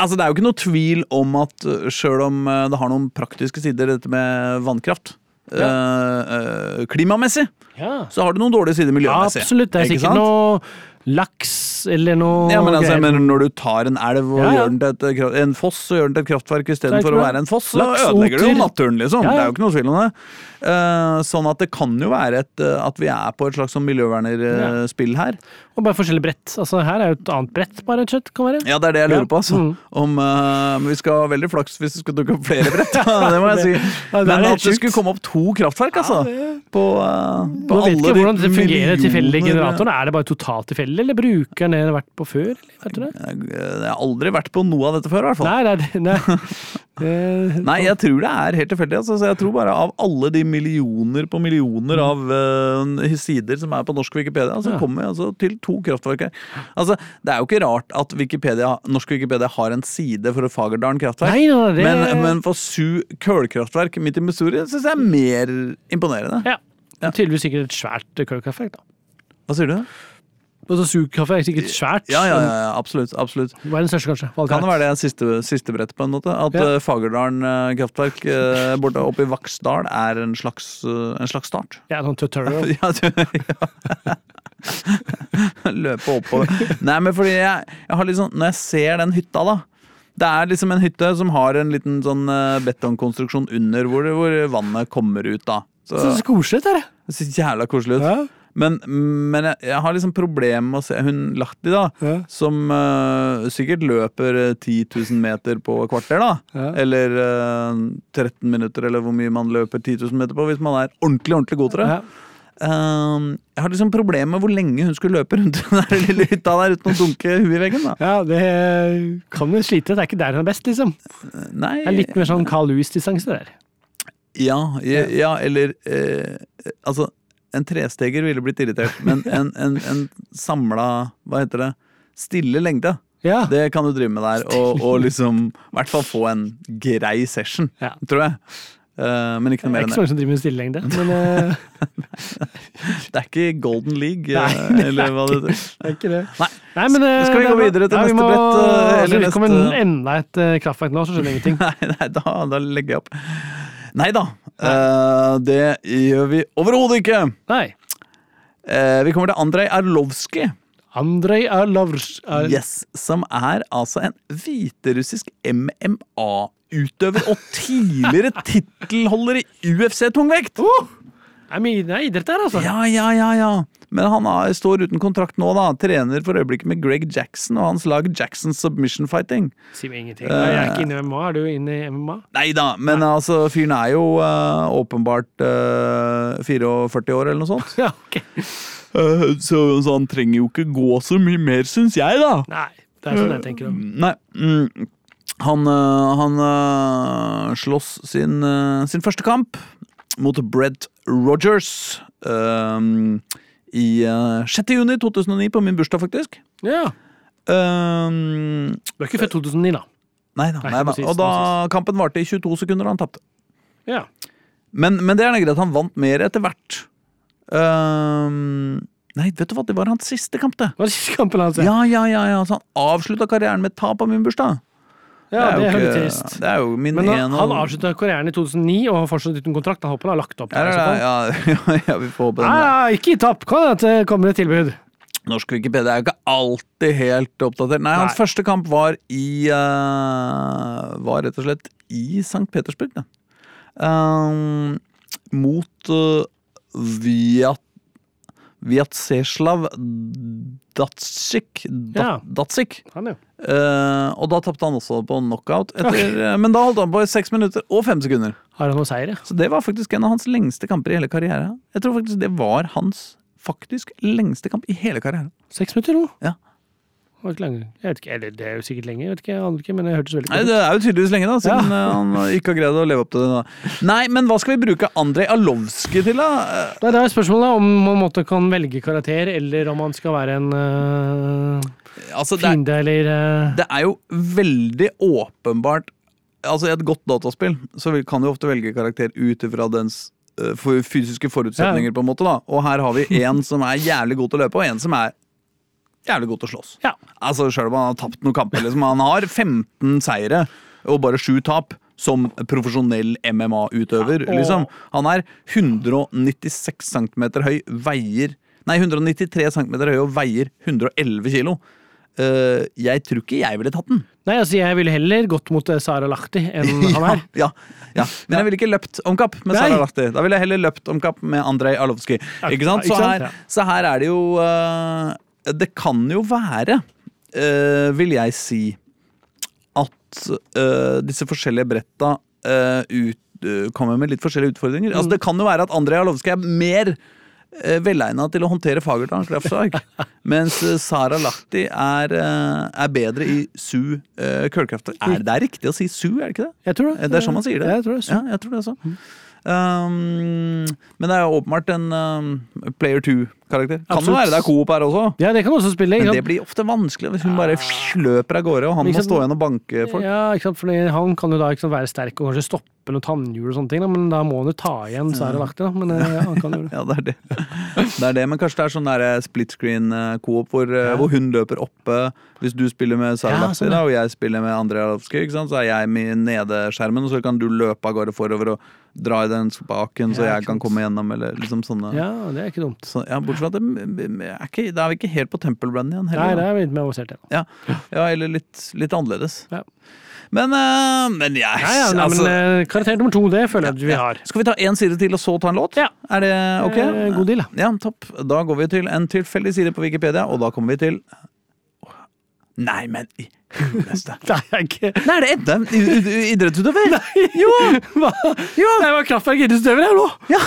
[SPEAKER 1] Altså, Det er jo ikke noe tvil om at eh, sjøl om eh, det har noen praktiske sider, dette med vannkraft eh, eh, Klimamessig
[SPEAKER 3] Ja.
[SPEAKER 1] så har det noen dårlige sider miljømessig.
[SPEAKER 3] Absolutt. Det er
[SPEAKER 1] Ikke
[SPEAKER 3] sikkert
[SPEAKER 1] sant?
[SPEAKER 3] noe laks eller noe
[SPEAKER 1] ja, men altså, jeg
[SPEAKER 3] greier.
[SPEAKER 1] mener, Når du tar en elv og
[SPEAKER 3] Ja, ja.
[SPEAKER 1] gjør den til et, kraft- en foss, og gjør den til et kraftverk
[SPEAKER 3] Det er
[SPEAKER 1] istedenfor
[SPEAKER 3] ikke
[SPEAKER 1] å
[SPEAKER 3] bra.
[SPEAKER 1] være en foss, så
[SPEAKER 3] Laks,
[SPEAKER 1] ødelegger du jo
[SPEAKER 3] oter.
[SPEAKER 1] naturen, liksom.
[SPEAKER 3] Ja, ja.
[SPEAKER 1] Det er jo ikke noe tvil om det. Eh, sånn at det kan jo være et, eh, at vi er på et slags sånn miljøvernerspill her.
[SPEAKER 3] Og bare forskjellige brett. Altså, her er jo et annet brett, bare et kjøtt, kan være.
[SPEAKER 1] Ja, det er det jeg
[SPEAKER 3] Ja.
[SPEAKER 1] lurer på, altså.
[SPEAKER 3] Mm.
[SPEAKER 1] Om, eh, men vi skal ha veldig flaks hvis det skulle dukke opp flere brett, <laughs> det må jeg
[SPEAKER 3] det-
[SPEAKER 1] si.
[SPEAKER 3] ja, det er
[SPEAKER 1] Men
[SPEAKER 3] helt
[SPEAKER 1] at det
[SPEAKER 3] sjukt.
[SPEAKER 1] skulle komme opp to kraftverk, altså. På, eh, på
[SPEAKER 3] Nå vet
[SPEAKER 1] alle
[SPEAKER 3] ikke
[SPEAKER 1] de
[SPEAKER 3] hvordan dette fungerer, tilfeldige
[SPEAKER 1] millioner-
[SPEAKER 3] generatoren. Er det bare totalt tilfeldig, eller bruker den det den har vært på før? Eller? Vet du det?
[SPEAKER 1] Jeg har aldri vært på noe av dette før, i hvert fall.
[SPEAKER 3] Nei, det er
[SPEAKER 1] <laughs>
[SPEAKER 3] det. Nei. Eh,
[SPEAKER 1] Nei, jeg tror det er helt tilfeldig. Altså. Så jeg tror bare Av alle de millioner på millioner av eh, sider som er på norsk Wikipedia, så
[SPEAKER 3] Ja.
[SPEAKER 1] kommer vi altså til to kraftverk her. Altså, det er jo ikke rart at Wikipedia, norsk Wikipedia har en side for Fagerdalen kraftverk.
[SPEAKER 3] Nei, nei, det-
[SPEAKER 1] men, men for Su kullkraftverk midt i Missouri syns jeg er mer imponerende.
[SPEAKER 3] ja. Tydeligvis sikkert et svært kullkraftverk, da.
[SPEAKER 1] Hva sier du?
[SPEAKER 3] Altså, Sugkaffe er sikkert svært.
[SPEAKER 1] Ja, ja, ja, ja absolutt. absolutt.
[SPEAKER 3] Det var den største, kanskje.
[SPEAKER 1] Kan det være det siste, siste brettet, på en måte? At
[SPEAKER 3] Ja.
[SPEAKER 1] eh, Fagerdalen eh, kraftverk eh, borte oppe i Vaksdal er en slags, eh, en slags start?
[SPEAKER 3] Ja, sånn tutorial.
[SPEAKER 1] <laughs> Ja, du, ja. <laughs> Løpe oppover. Nei, men fordi jeg, jeg har liksom Når jeg ser den hytta, da Det er liksom en hytte som har en liten sånn eh, betongkonstruksjon under hvor, hvor vannet kommer ut, da. Så
[SPEAKER 3] Så så koselig dette er det
[SPEAKER 1] det ser jævla koselig ut.
[SPEAKER 3] Ja.
[SPEAKER 1] Men, men jeg, jeg har liksom problemer med å se hun Lahti, da,
[SPEAKER 3] Ja.
[SPEAKER 1] som eh, sikkert løper eh, 10 000 meter på et kvarter, da.
[SPEAKER 3] Ja.
[SPEAKER 1] Eller eh, 13 minutter, eller hvor mye man løper 10 000 meter på, hvis man er ordentlig, ordentlig god til det.
[SPEAKER 3] Ja.
[SPEAKER 1] Ehm, jeg har liksom problemer med hvor lenge hun skulle løpe rundt <laughs> den der lille hytta der uten å dunke huet i veggen. da.
[SPEAKER 3] ja, det kan jo slite. Det er ikke der hun er best, liksom.
[SPEAKER 1] Nei,
[SPEAKER 3] Det er litt mer sånn Carl Louis-distanse der.
[SPEAKER 1] ja, ja, ja, eller eh, Altså, en tresteger ville blitt irritert, men en, en, en samla Hva heter det? Stille lengde.
[SPEAKER 3] Ja.
[SPEAKER 1] Det kan du drive med der, og, og liksom i hvert fall få en grei session,
[SPEAKER 3] Ja.
[SPEAKER 1] tror jeg. Eh, men ikke noe mer
[SPEAKER 3] Det er
[SPEAKER 1] enn det.
[SPEAKER 3] ikke så mange som driver med stillelengde, men
[SPEAKER 1] <laughs>
[SPEAKER 3] eh,
[SPEAKER 1] Det er ikke Golden League,
[SPEAKER 3] Nei,
[SPEAKER 1] eh, eller hva det heter.
[SPEAKER 3] det er ikke det.
[SPEAKER 1] Nei.
[SPEAKER 3] Nei, men, eh,
[SPEAKER 1] Skal vi
[SPEAKER 3] det
[SPEAKER 1] gå
[SPEAKER 3] er bra.
[SPEAKER 1] videre til
[SPEAKER 3] Ja, vi
[SPEAKER 1] neste
[SPEAKER 3] må-
[SPEAKER 1] brett, eh,
[SPEAKER 3] altså,
[SPEAKER 1] eller
[SPEAKER 3] det kommer
[SPEAKER 1] neste-
[SPEAKER 3] enda et eh, kraftverk nå, så skjønner jeg ingenting.
[SPEAKER 1] <laughs> Nei, nei da, da legger jeg opp. Nei da, eh, det gjør vi overhodet ikke.
[SPEAKER 3] Nei.
[SPEAKER 1] Eh, vi kommer til Andrej Arlovskij.
[SPEAKER 3] Andrej Arlovs... eh, Ar
[SPEAKER 1] Yes, som er altså en hviterussisk MMA-utøver og <laughs> tidligere tittelholder i UFC tungvekt.
[SPEAKER 3] Nei, men Det er idrett her, altså.
[SPEAKER 1] Ja, ja, ja, ja. Men han er, står uten kontrakt nå, da. Trener for øyeblikket med Greg Jackson og hans lag Jackson Submission Fighting.
[SPEAKER 3] Si meg ingenting. Nei, jeg er ikke inne i MMA. Er du inne i MMA?
[SPEAKER 1] Nei da, men altså, fyren er jo eh, åpenbart eh, 44 år eller noe sånt.
[SPEAKER 3] <laughs> Ja, ok.
[SPEAKER 1] Eh, så, så han trenger jo ikke gå så mye mer, syns jeg, da.
[SPEAKER 3] Nei, det er sånn jeg tenker om.
[SPEAKER 1] Nei. Mm. Han, øh, han øh, slåss sin, øh, sin første kamp mot Brett Rogers øhm, i øh, 6. juni 2009, på min bursdag, faktisk.
[SPEAKER 3] Ja.
[SPEAKER 1] Øhm,
[SPEAKER 3] Du er ikke født 2009, da?
[SPEAKER 1] nei da.
[SPEAKER 3] Nei,
[SPEAKER 1] Nei, da.
[SPEAKER 3] precis,
[SPEAKER 1] Og da kampen varte i 22 sekunder, og han tapte.
[SPEAKER 3] Ja.
[SPEAKER 1] Men, men det er da greit, han vant mer etter hvert. Øhm, nei, vet du hva, det var hans siste kamp, det.
[SPEAKER 3] Det var siste kampen hans. Ja,
[SPEAKER 1] Ja, ja, ja, ja. Så han avslutta karrieren med et tap på min bursdag.
[SPEAKER 3] ja det er jo
[SPEAKER 1] ikke-
[SPEAKER 3] litt trist.
[SPEAKER 1] Det er jo min
[SPEAKER 3] Men han,
[SPEAKER 1] ene-
[SPEAKER 3] han avslutta karrieren i 2009 og har fortsatt uten kontrakt. Han håper han har lagt opp.
[SPEAKER 1] Ja,
[SPEAKER 3] der, i så fall.
[SPEAKER 1] ja, ja, <laughs> ja, vi får håpe den.
[SPEAKER 3] Nei,
[SPEAKER 1] da.
[SPEAKER 3] nei, ikke gi tapp! Kan hende at det kommer et tilbud.
[SPEAKER 1] Norsk Wikipedia er jo ikke alltid helt oppdatert. Nei, hans
[SPEAKER 3] Nei.
[SPEAKER 1] første kamp var i eh, Var rett og slett i St. Petersburg, da. Ehm, mot eh, Viat... Vjatseslav Datsjik.
[SPEAKER 3] Ja.
[SPEAKER 1] Dat, Datsjik.
[SPEAKER 3] Han, jo.
[SPEAKER 1] Eh, og da tapte han også på knockout. Etter, eh, Men da holdt han på i seks minutter og fem sekunder.
[SPEAKER 3] Har han noen seire?
[SPEAKER 1] Så det var faktisk en av hans lengste kamper i hele karrieren. Jeg tror faktisk det var hans faktisk lengste kamp i hele karrieren.
[SPEAKER 3] Seks minutter nå?
[SPEAKER 1] Ja.
[SPEAKER 3] Det var ikke lang- Jeg vet ikke, eller det er jo sikkert lenger, jeg vet ikke, jeg aner ikke, men det hørtes veldig
[SPEAKER 1] Nei,
[SPEAKER 3] godt ut.
[SPEAKER 1] Det er jo tydeligvis lenge, da, siden eh, han ikke har greid å leve opp til det. da. Nei, men hva skal vi bruke Andrej Alovskij til, da? Eh,
[SPEAKER 3] Nei, Det er spørsmålet da, om man måtte kan velge karakter, eller om man skal være en øh,
[SPEAKER 1] Eh, Altså, det er,
[SPEAKER 3] fiende, eller øh,
[SPEAKER 1] det er jo veldig åpenbart Altså, I et godt dataspill så vil- kan du ofte velge karakter ut ifra dens eh, for- fysiske forutsetninger, på en måte. da. Og her har vi en som er jævlig god til å løpe, og en som er jævlig god til å slåss.
[SPEAKER 3] Ja.
[SPEAKER 1] Altså Selv om han har tapt noen kamper. Liksom. Han har 15 seire og bare 7 tap som profesjonell MMA-utøver.
[SPEAKER 3] Ja, og-
[SPEAKER 1] Liksom. Han er 196 cm høy, veier Nei, 193 cm høy og veier 111 kg. jeg tror ikke jeg ville tatt den.
[SPEAKER 3] Nei, altså jeg ville heller gått mot eh, Sara Lahti <laughs> enn han her.
[SPEAKER 1] <laughs> Ja, ja. Men jeg ville ikke løpt om kapp med
[SPEAKER 3] Nei.
[SPEAKER 1] Sara Lahti. Da ville jeg heller løpt om kapp med Andrej Arlovskij. Ikke sant? Så
[SPEAKER 3] ikke sant?
[SPEAKER 1] her,
[SPEAKER 3] Ja.
[SPEAKER 1] så her er det jo eh, Det kan jo være, eh, vil jeg si, at eh, disse forskjellige bretta eh, ut, eh, kommer med litt forskjellige utfordringer. Altså, det kan jo være at Andrej Arlovskij er mer uh, velegna til å håndtere fagert kraftslag, mens eh, Sara Lahti er, eh, er bedre i su uh, kullkraftslag. Er det er riktig å si su, er det ikke det?
[SPEAKER 3] Jeg tror det.
[SPEAKER 1] Det er sånn man sier det.
[SPEAKER 3] Jeg tror det.
[SPEAKER 1] Ja, jeg tror det også. Um, men det er jo åpenbart en um, player two-karakter. Kan jo
[SPEAKER 3] Absolutt.
[SPEAKER 1] være det er coop her også,
[SPEAKER 3] Ja, det kan du også spille.
[SPEAKER 1] men
[SPEAKER 3] Ikke
[SPEAKER 1] det
[SPEAKER 3] sant?
[SPEAKER 1] blir ofte vanskelig hvis hun bare fj- løper av gårde, og han
[SPEAKER 3] Ikke
[SPEAKER 1] må
[SPEAKER 3] sant?
[SPEAKER 1] stå igjen og banke folk.
[SPEAKER 3] Ja, ikke sant? Fordi han kan jo da ikke sant, være sterk og kanskje stoppe noen tannhjul og sånne ting, da, men da må han jo ta igjen Sara Lahti, da. Men eh, ja, han kan
[SPEAKER 1] <laughs>
[SPEAKER 3] gjøre det.
[SPEAKER 1] Ja, det er det. det er det. Men kanskje det er sånn der eh, split screen eh, coop hvor, eh, hvor hun løper oppe. Hvis du spiller med Sara
[SPEAKER 3] Ja,
[SPEAKER 1] Lahti
[SPEAKER 3] sånn,
[SPEAKER 1] da, og jeg spiller med Andrej Arlovskij, ikke sant, så er jeg med i nedeskjermen, og så kan du løpe av gårde forover og dra i den spaken så
[SPEAKER 3] Ja, ikke
[SPEAKER 1] jeg kan
[SPEAKER 3] sant.
[SPEAKER 1] komme gjennom, eller liksom sånne
[SPEAKER 3] Ja, det er ikke dumt.
[SPEAKER 1] Så, ja, bortsett fra at det, er ikke, da er vi ikke helt på tempelbrand igjen
[SPEAKER 3] Nei,
[SPEAKER 1] heller.
[SPEAKER 3] det
[SPEAKER 1] da.
[SPEAKER 3] er litt mer avansert. Ja.
[SPEAKER 1] Ja, ja, eller litt, litt annerledes.
[SPEAKER 3] Ja.
[SPEAKER 1] Men, eh, men jeg
[SPEAKER 3] Nei, ja, nei,
[SPEAKER 1] altså,
[SPEAKER 3] men eh, karakter nummer to, det føler jeg at vi har.
[SPEAKER 1] Skal vi ta én side til og så ta en låt?
[SPEAKER 3] Ja.
[SPEAKER 1] Er det ok?
[SPEAKER 3] Eh, god deal.
[SPEAKER 1] Ja, topp. Da går vi til en tilfeldig side på Wikipedia, og da kommer vi til Nei, men i huleste
[SPEAKER 3] <laughs> Nei, jeg er ikke
[SPEAKER 1] Nei, er det Edde? i- i- Idrettsutøver? Jo!
[SPEAKER 3] Hva? Det var kraftverk idrettsutøver her nå!
[SPEAKER 1] Ja.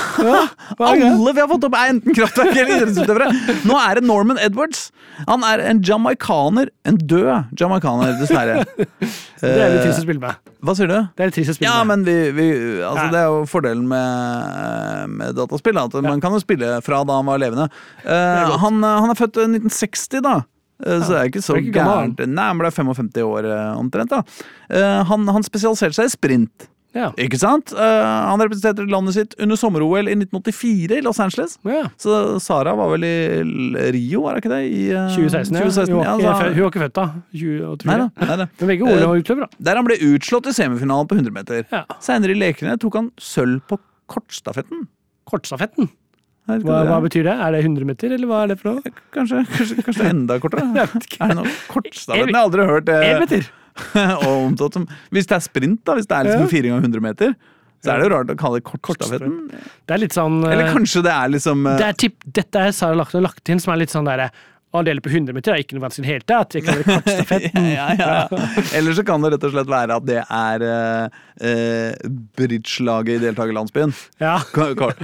[SPEAKER 3] hva er det?
[SPEAKER 1] Alle vi har fått opp, er enten kraftverk eller idrettsutøvere. Nå er det Norman Edwards. Han er en jamaikaner. En død jamaikaner, dessverre.
[SPEAKER 3] Det er litt trist å spille med.
[SPEAKER 1] Hva sier du?
[SPEAKER 3] Det er litt trist å spille
[SPEAKER 1] Eh, Ja,
[SPEAKER 3] med.
[SPEAKER 1] men vi, vi altså,
[SPEAKER 3] Ja.
[SPEAKER 1] Det er jo fordelen med, med dataspill. da, At man kan jo spille fra da han var levende. Eh, han, han er født eh, 1960, da. Eh, Så det er ikke så
[SPEAKER 3] det er ikke gammel.
[SPEAKER 1] gærent. Nei, men det er 55 år eh, omtrent, da. Eh, Han, han spesialiserte seg i sprint.
[SPEAKER 3] Ja.
[SPEAKER 1] Ikke sant? Eh, han representerte landet sitt under sommer-OL i 1984 i Los Angeles.
[SPEAKER 3] Ja.
[SPEAKER 1] Så Sara var vel i L- Rio, var det ikke det? I, eh,
[SPEAKER 3] 2016, ja.
[SPEAKER 1] 2016, ja, så-
[SPEAKER 3] Hun, var ikke, fø- hun var ikke født da. 2084.
[SPEAKER 1] Nei da, Eh, nei da.
[SPEAKER 3] Men begge ordene var utøvere, da.
[SPEAKER 1] Der han ble utslått i semifinalen på 100 meter.
[SPEAKER 3] Ja.
[SPEAKER 1] Senere i lekene tok han sølv på kortstafetten.
[SPEAKER 3] Kortstafetten.
[SPEAKER 1] Jeg vet ikke det
[SPEAKER 3] Hva,
[SPEAKER 1] er.
[SPEAKER 3] hva betyr det? Er det 100 meter, eller hva er det for noe?
[SPEAKER 1] Kanskje, kanskje,
[SPEAKER 3] <laughs>
[SPEAKER 1] kanskje det er enda kortere? Er det noe kort? Da vet jeg, jeg har aldri hørt
[SPEAKER 3] Én
[SPEAKER 1] <laughs> det
[SPEAKER 3] meter!
[SPEAKER 1] og omtalt som Hvis det er sprint, da, hvis det er
[SPEAKER 3] Ja.
[SPEAKER 1] liksom 4 ganger 100 meter, så er det jo rart å kalle det kortstafetten.
[SPEAKER 3] Det er litt sånn eh,
[SPEAKER 1] Eller kanskje det er liksom eh,
[SPEAKER 3] det er tipp, Dette er Sara lagt, lagt inn, som er litt sånn derre Å dele på 100 meter er ikke noe vanskelig i det hele tatt. Jeg kaller det
[SPEAKER 1] <laughs>
[SPEAKER 3] kortstafetten.
[SPEAKER 1] ja, ja,
[SPEAKER 3] <laughs>
[SPEAKER 1] ja. Eller så kan det rett og slett være at det er eh, eh, bridgelaget i deltakerlandsbyen.
[SPEAKER 3] Ja, <laughs>
[SPEAKER 1] Ka- kort.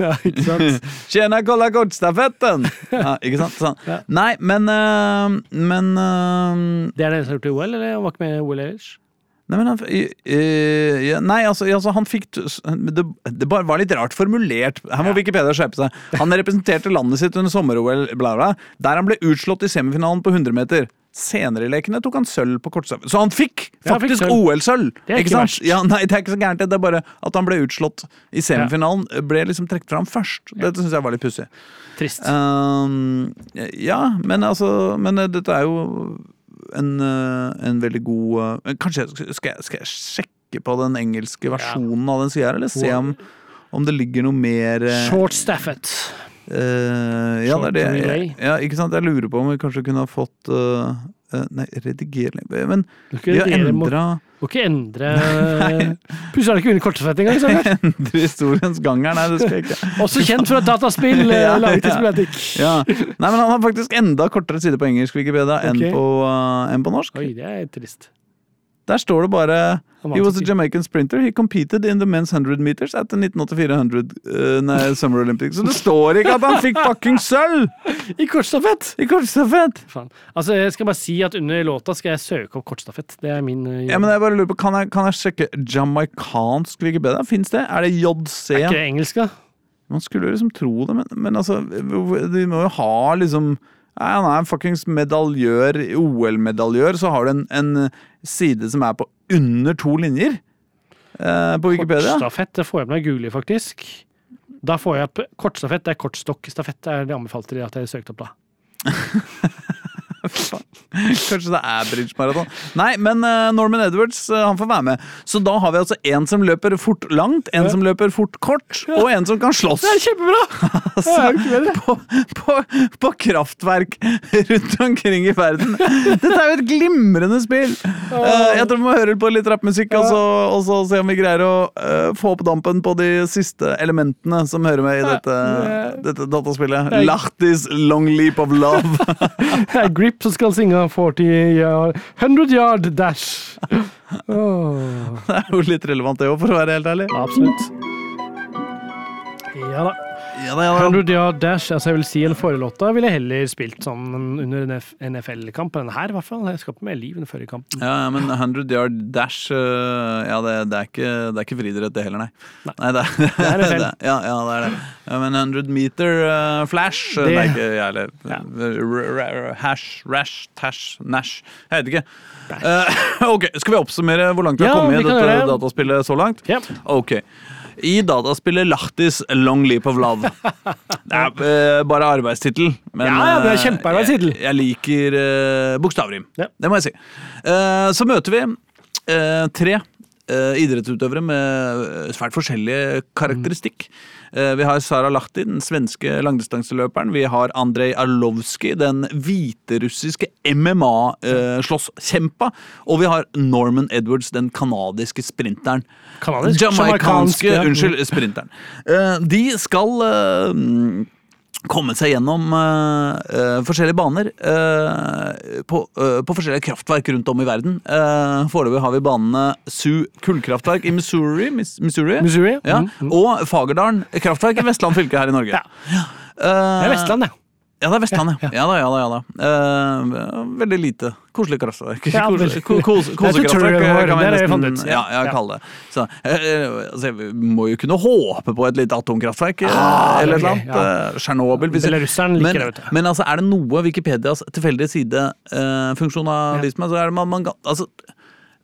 [SPEAKER 3] ja, ikke sant?
[SPEAKER 1] Tjena, kolla
[SPEAKER 3] <laughs>
[SPEAKER 1] kortstafetten! Ja, ikke sant? Sånn.
[SPEAKER 3] Ja.
[SPEAKER 1] Nei, men eh, Men eh,
[SPEAKER 3] Det er det eneste som har gjort i OL, eller? Han var ikke med i OL ellers?
[SPEAKER 1] Nei, men han, eh, ja, nei altså, ja, altså, han fikk t- s- det, det bare var litt rart formulert. Her må Wikipedia skjerpe seg. Han representerte landet sitt under sommer-OL, bla, bla, der han ble utslått i semifinalen på 100 meter. Senere i lekene tok han sølv på kortstafett. Så han fikk
[SPEAKER 3] Ja, han fikk
[SPEAKER 1] faktisk
[SPEAKER 3] sølv.
[SPEAKER 1] OL-sølv!
[SPEAKER 3] Det er ikke
[SPEAKER 1] sant?
[SPEAKER 3] verst.
[SPEAKER 1] Ja, nei, det er ikke så gærent. Det er bare at han ble utslått i semifinalen. Ble liksom trukket fram først. Dette syns jeg var litt pussig.
[SPEAKER 3] Trist.
[SPEAKER 1] Ehm, ja, men altså Men eh, dette er jo en, eh, en veldig god eh, men Kanskje jeg- skal jeg, skal jeg sjekke på den engelske versjonen av den sida her, eller se om, om det ligger noe mer eh,
[SPEAKER 3] Short staffet.
[SPEAKER 1] eh, Ja, det er det.
[SPEAKER 3] short
[SPEAKER 1] Jeg,
[SPEAKER 3] relay.
[SPEAKER 1] ja, ikke sant? Jeg lurer på om vi kanskje kunne ha fått eh, eh, Nei, redigering Men
[SPEAKER 3] Du kan
[SPEAKER 1] vi har
[SPEAKER 3] redigere mot-
[SPEAKER 1] <laughs> endra
[SPEAKER 3] Må ikke endre Plutselig har du ikke vunnet kortstafett engang.
[SPEAKER 1] <laughs>
[SPEAKER 3] Sander.
[SPEAKER 1] historiens gang her, nei, det skal jeg
[SPEAKER 3] <laughs>
[SPEAKER 1] ikke.
[SPEAKER 3] Også kjent fra dataspill eh,
[SPEAKER 1] Ja,
[SPEAKER 3] laget i
[SPEAKER 1] ja.
[SPEAKER 3] Spelatic.
[SPEAKER 1] Ja. Nei, men han har faktisk enda kortere side på engelsk Wikipedia
[SPEAKER 3] Ok.
[SPEAKER 1] enn, på, eh, enn på norsk.
[SPEAKER 3] Oi, det er trist.
[SPEAKER 1] Der står det bare
[SPEAKER 3] Han
[SPEAKER 1] He
[SPEAKER 3] vant
[SPEAKER 1] was a
[SPEAKER 3] ikke.
[SPEAKER 1] Jamaican sprinter. He competed in the men's 100 meters at the 1984 100, eh, nei, Summer Olympics. Så det står ikke at han fikk fucking sølv
[SPEAKER 3] I kortstafett!
[SPEAKER 1] i kortstafett!
[SPEAKER 3] Faen. Altså, jeg skal bare si at under låta skal jeg søke opp kortstafett. Det er min eh,
[SPEAKER 1] Ja,
[SPEAKER 3] jobb.
[SPEAKER 1] men jeg bare lurer på, Kan jeg, kan jeg sjekke jamaicansk Wikipedia? Fins det? Er det
[SPEAKER 3] Er ikke
[SPEAKER 1] JC?
[SPEAKER 3] det engelsk, da?
[SPEAKER 1] Man skulle jo liksom tro det, men, men altså hvorfor- De må jo ha liksom Nei, Han er en fuckings medaljør, OL-medaljør. Så har du en, en side som er på under to linjer eh, på Wikipedia.
[SPEAKER 3] Kortstafett det får jeg med meg Google, faktisk. Da får jeg opp kortstafett. Det er kortstokkstafett er det anbefalte de at jeg søkte opp, da.
[SPEAKER 1] Faen. Kanskje det er bridge-maraton. Nei, men eh, Norman Edwards eh, han får være med. Så da har vi altså en som løper fort langt, en som løper fort kort, og en som kan slåss.
[SPEAKER 3] <laughs>
[SPEAKER 1] <laughs>
[SPEAKER 3] kjempebra!
[SPEAKER 1] Altså, på, på, på kraftverk rundt omkring i verden. Dette er jo et glimrende spill! Eh, jeg tror vi må høre på litt rappmusikk, og, så- og så se om vi greier å eh, få opp dampen på de siste elementene som hører med i dette, dette dataspillet.
[SPEAKER 3] Nei.
[SPEAKER 1] Lahtis Long Leap of Love.
[SPEAKER 3] Det er Grip som skal synge 40 yard, 100 yard <laughs> dash. Åh,
[SPEAKER 1] Det er jo litt relevant det òg, for å være helt ærlig.
[SPEAKER 3] absolutt. Ja da.
[SPEAKER 1] Ja, da, ja, da.
[SPEAKER 3] 100 yard dash, altså jeg vil si en forelåta ville jeg heller spilt sånn under en NFL-kamp enn her, i hvert fall. Jeg skal ikke med liv under forrige kamp.
[SPEAKER 1] ja, ja, men 100 yard dash øh, Ja, det, det, er, ikke, det er ikke friidrett, det heller, nei.
[SPEAKER 3] Nei.
[SPEAKER 1] det, er, det <laughs>
[SPEAKER 3] er NFL.
[SPEAKER 1] ja, ja, det er det. Ja, men 100 meter øh, flash øh,
[SPEAKER 3] Det-
[SPEAKER 1] Det er ikke jeg heller.
[SPEAKER 3] Ja.
[SPEAKER 1] R- r- r- Hash, rash, tash, nash. Jeg vet ikke. Eh, <laughs> ok, Skal vi oppsummere hvor langt vi har
[SPEAKER 3] Ja,
[SPEAKER 1] kommet
[SPEAKER 3] vi
[SPEAKER 1] i
[SPEAKER 3] kan
[SPEAKER 1] dette
[SPEAKER 3] gjøre det.
[SPEAKER 1] dataspillet så langt?
[SPEAKER 3] Ja.
[SPEAKER 1] Ok. I dataspillet Lahtis Long Leap of Love. Det er eh, bare arbeidstittel. men,
[SPEAKER 3] Ja, ja, det er
[SPEAKER 1] eh,
[SPEAKER 3] kjempearbeidstittel.
[SPEAKER 1] Jeg, jeg liker eh, bokstavrim.
[SPEAKER 3] Ja.
[SPEAKER 1] Det må jeg si. Eh, så møter vi eh, tre eh, idrettsutøvere med eh, svært forskjellige karakteristikk. Eh, vi har Sara Lahti, den svenske langdistanseløperen. Vi har Andrej Arlovski, den hviterussiske MMA-slåsskjempa. eh, og vi har Norman Edwards, den kanadiske sprinteren.
[SPEAKER 3] Kanadisk? Jamaikansk,
[SPEAKER 1] Jamaikanske
[SPEAKER 3] ja.
[SPEAKER 1] Unnskyld, sprinteren. Eh, de skal eh, mm, komme seg gjennom eh, eh, forskjellige baner eh, på, eh, på forskjellige kraftverk rundt om i verden. Uh, Foreløpig har vi banene Sioux kullkraftverk i Missouri, Miss, Missouri,
[SPEAKER 3] Missouri,
[SPEAKER 1] Ja,
[SPEAKER 3] mm,
[SPEAKER 1] og Fagerdalen kraftverk i Vestland fylke her i Norge.
[SPEAKER 3] Ja. Det
[SPEAKER 1] Eh,
[SPEAKER 3] er Vestland, ja.
[SPEAKER 1] ja, det er Vestlandet. Ja, da, ja da. ja da. Eh, veldig lite. Koselig kraftverk.
[SPEAKER 3] Ja,
[SPEAKER 1] Kos-
[SPEAKER 3] veldig.
[SPEAKER 1] ko- kos-
[SPEAKER 3] Det er
[SPEAKER 1] Kosekraftverk
[SPEAKER 3] tutorial vår,
[SPEAKER 1] kan vi
[SPEAKER 3] det er det vi
[SPEAKER 1] nesten
[SPEAKER 3] fant ut.
[SPEAKER 1] ja,
[SPEAKER 3] Ja.
[SPEAKER 1] ja,
[SPEAKER 3] Ja.
[SPEAKER 1] kalle det. Så, eh, eh, altså, vi må jo kunne håpe på et lite atomkraftverk eh,
[SPEAKER 3] Ah,
[SPEAKER 1] eller et
[SPEAKER 3] ok,
[SPEAKER 1] eller annet.
[SPEAKER 3] ja.
[SPEAKER 1] Eh, Tsjernobyl. hvis-
[SPEAKER 3] Belarusseren liker
[SPEAKER 1] men,
[SPEAKER 3] det, vet du.
[SPEAKER 1] Men altså, er det noe Wikipedias tilfeldige sidefunksjon har
[SPEAKER 3] Ja.
[SPEAKER 1] vist meg, så er det man, man, ga- altså,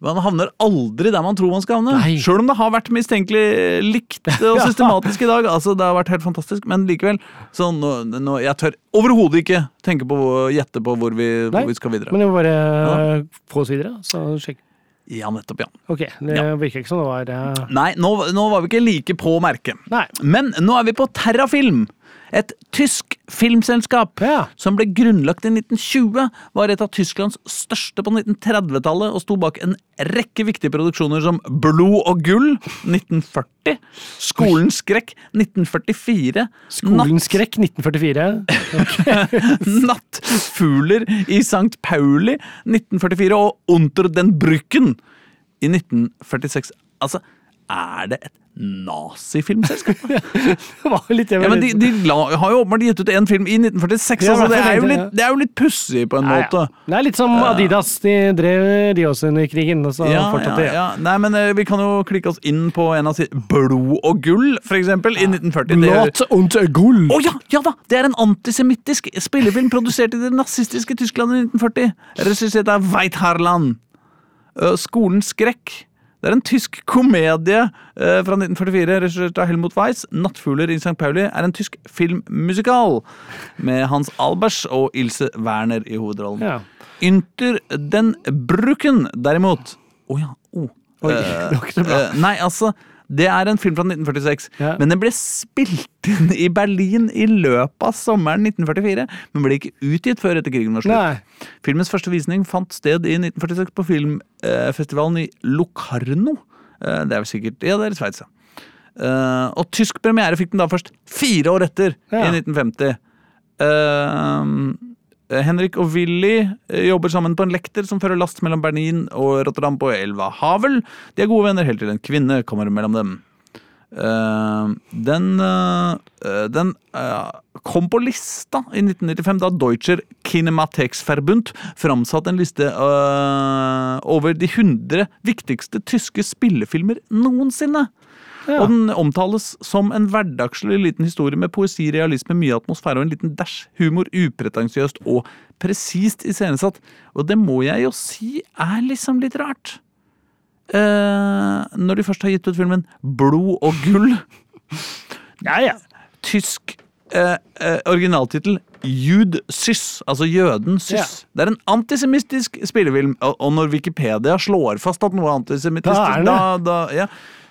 [SPEAKER 1] man havner aldri der man tror man skal havne.
[SPEAKER 3] Nei.
[SPEAKER 1] Sjøl om det har vært mistenkelig likt
[SPEAKER 3] <laughs>
[SPEAKER 1] og systematisk i dag. Altså, det har vært helt fantastisk, men likevel. Så nå, nå, jeg tør overhodet ikke tenke på å gjette på hvor vi,
[SPEAKER 3] Nei,
[SPEAKER 1] hvor vi skal videre.
[SPEAKER 3] Men det må bare eh, få oss videre, så sjekk.
[SPEAKER 1] Ja, nettopp, ja.
[SPEAKER 3] Ok, det
[SPEAKER 1] Ja.
[SPEAKER 3] virker ikke som det var eh,
[SPEAKER 1] Nei, nå, nå var vi ikke like på merket.
[SPEAKER 3] Nei.
[SPEAKER 1] Men nå er vi på Terrafilm. Et tysk filmselskap
[SPEAKER 3] Ja.
[SPEAKER 1] som ble grunnlagt i 1920, var et av Tysklands største på 1930-tallet og sto bak en rekke viktige produksjoner som Blod og gull 1940, Skolens skrekk 1944,
[SPEAKER 3] <laughs> Skolens skrekk 1944.
[SPEAKER 1] Natt, Nattfugler i St. Pauli 1944 og Unter den Brücken i 1946. Altså, er det et nazifilmselskap?
[SPEAKER 3] <laughs> Det var litt det
[SPEAKER 1] Ja,
[SPEAKER 3] var
[SPEAKER 1] men de,
[SPEAKER 3] litt-
[SPEAKER 1] de la, har jo åpenbart gitt ut én film i 1946,
[SPEAKER 3] Ja,
[SPEAKER 1] altså, det, er jo
[SPEAKER 3] det, ja.
[SPEAKER 1] litt, det er jo litt pussig på en
[SPEAKER 3] Nei,
[SPEAKER 1] måte.
[SPEAKER 3] ja. Det er litt som Adidas. De drev de også under krigen. Og så
[SPEAKER 1] Ja, ja,
[SPEAKER 3] fortsatte de.
[SPEAKER 1] ja. Nei, men eh, Vi kan jo klikke oss inn på en av si Blod og gull, for eksempel, i 1940. Det er-
[SPEAKER 3] und gull.
[SPEAKER 1] Å ja, ja da! Det er en antisemittisk spillefilm produsert i det nazistiske Tyskland i 1940. Regissert av Weitharland. Eh, Skolens skrekk. Det er en tysk komedie eh, fra 1944, regissert av Helmut Weiss. 'Nattfugler i St. Pauli' er en tysk filmmusikal med Hans Albers og Ilse Werner i hovedrollen.
[SPEAKER 3] Ja.
[SPEAKER 1] Ynter den bruken, derimot Å ja. Oh.
[SPEAKER 3] Oi,
[SPEAKER 1] Eh,
[SPEAKER 3] det var ikke så bra.
[SPEAKER 1] eh, nei, altså det er en film fra 1946,
[SPEAKER 3] Ja.
[SPEAKER 1] men den ble spilt inn i Berlin i løpet av sommeren 1944. Men ble ikke utgitt før etter krigen var slutt.
[SPEAKER 3] Nei.
[SPEAKER 1] Filmens første visning fant sted i 1946 på filmfestivalen i Locarno. Eh, Det er vel sikkert Ja, det er i Sveits, ja. Eh, Og tysk premiere fikk den da først fire år etter, i
[SPEAKER 3] Ja.
[SPEAKER 1] 1950. Eh, Henrik og Willy eh, jobber sammen på en lekter som fører last mellom Berlin og Rotterdam på elva Havel. De er gode venner helt til en kvinne kommer mellom dem. Eh, den eh, eh, den eh, kom på lista i 1995 da Deutscher Kinematheksverbund framsatte en liste eh, over de 100 viktigste tyske spillefilmer noensinne.
[SPEAKER 3] Ja.
[SPEAKER 1] Og den omtales som en hverdagslig liten historie med poesi, realisme, mye atmosfære og en liten dash humor, upretensiøst og presist iscenesatt. Og det må jeg jo si er liksom litt rart. Eh, når de først har gitt ut filmen Blod og gull,
[SPEAKER 3] Ja, ja.
[SPEAKER 1] tysk eh, eh, originaltittel Jud Syss, altså Jøden Syss. Det er en antisemittisk spillefilm, og, og når Wikipedia slår fast at noe er antisemittistisk,
[SPEAKER 3] Da er det.
[SPEAKER 1] da, da ja.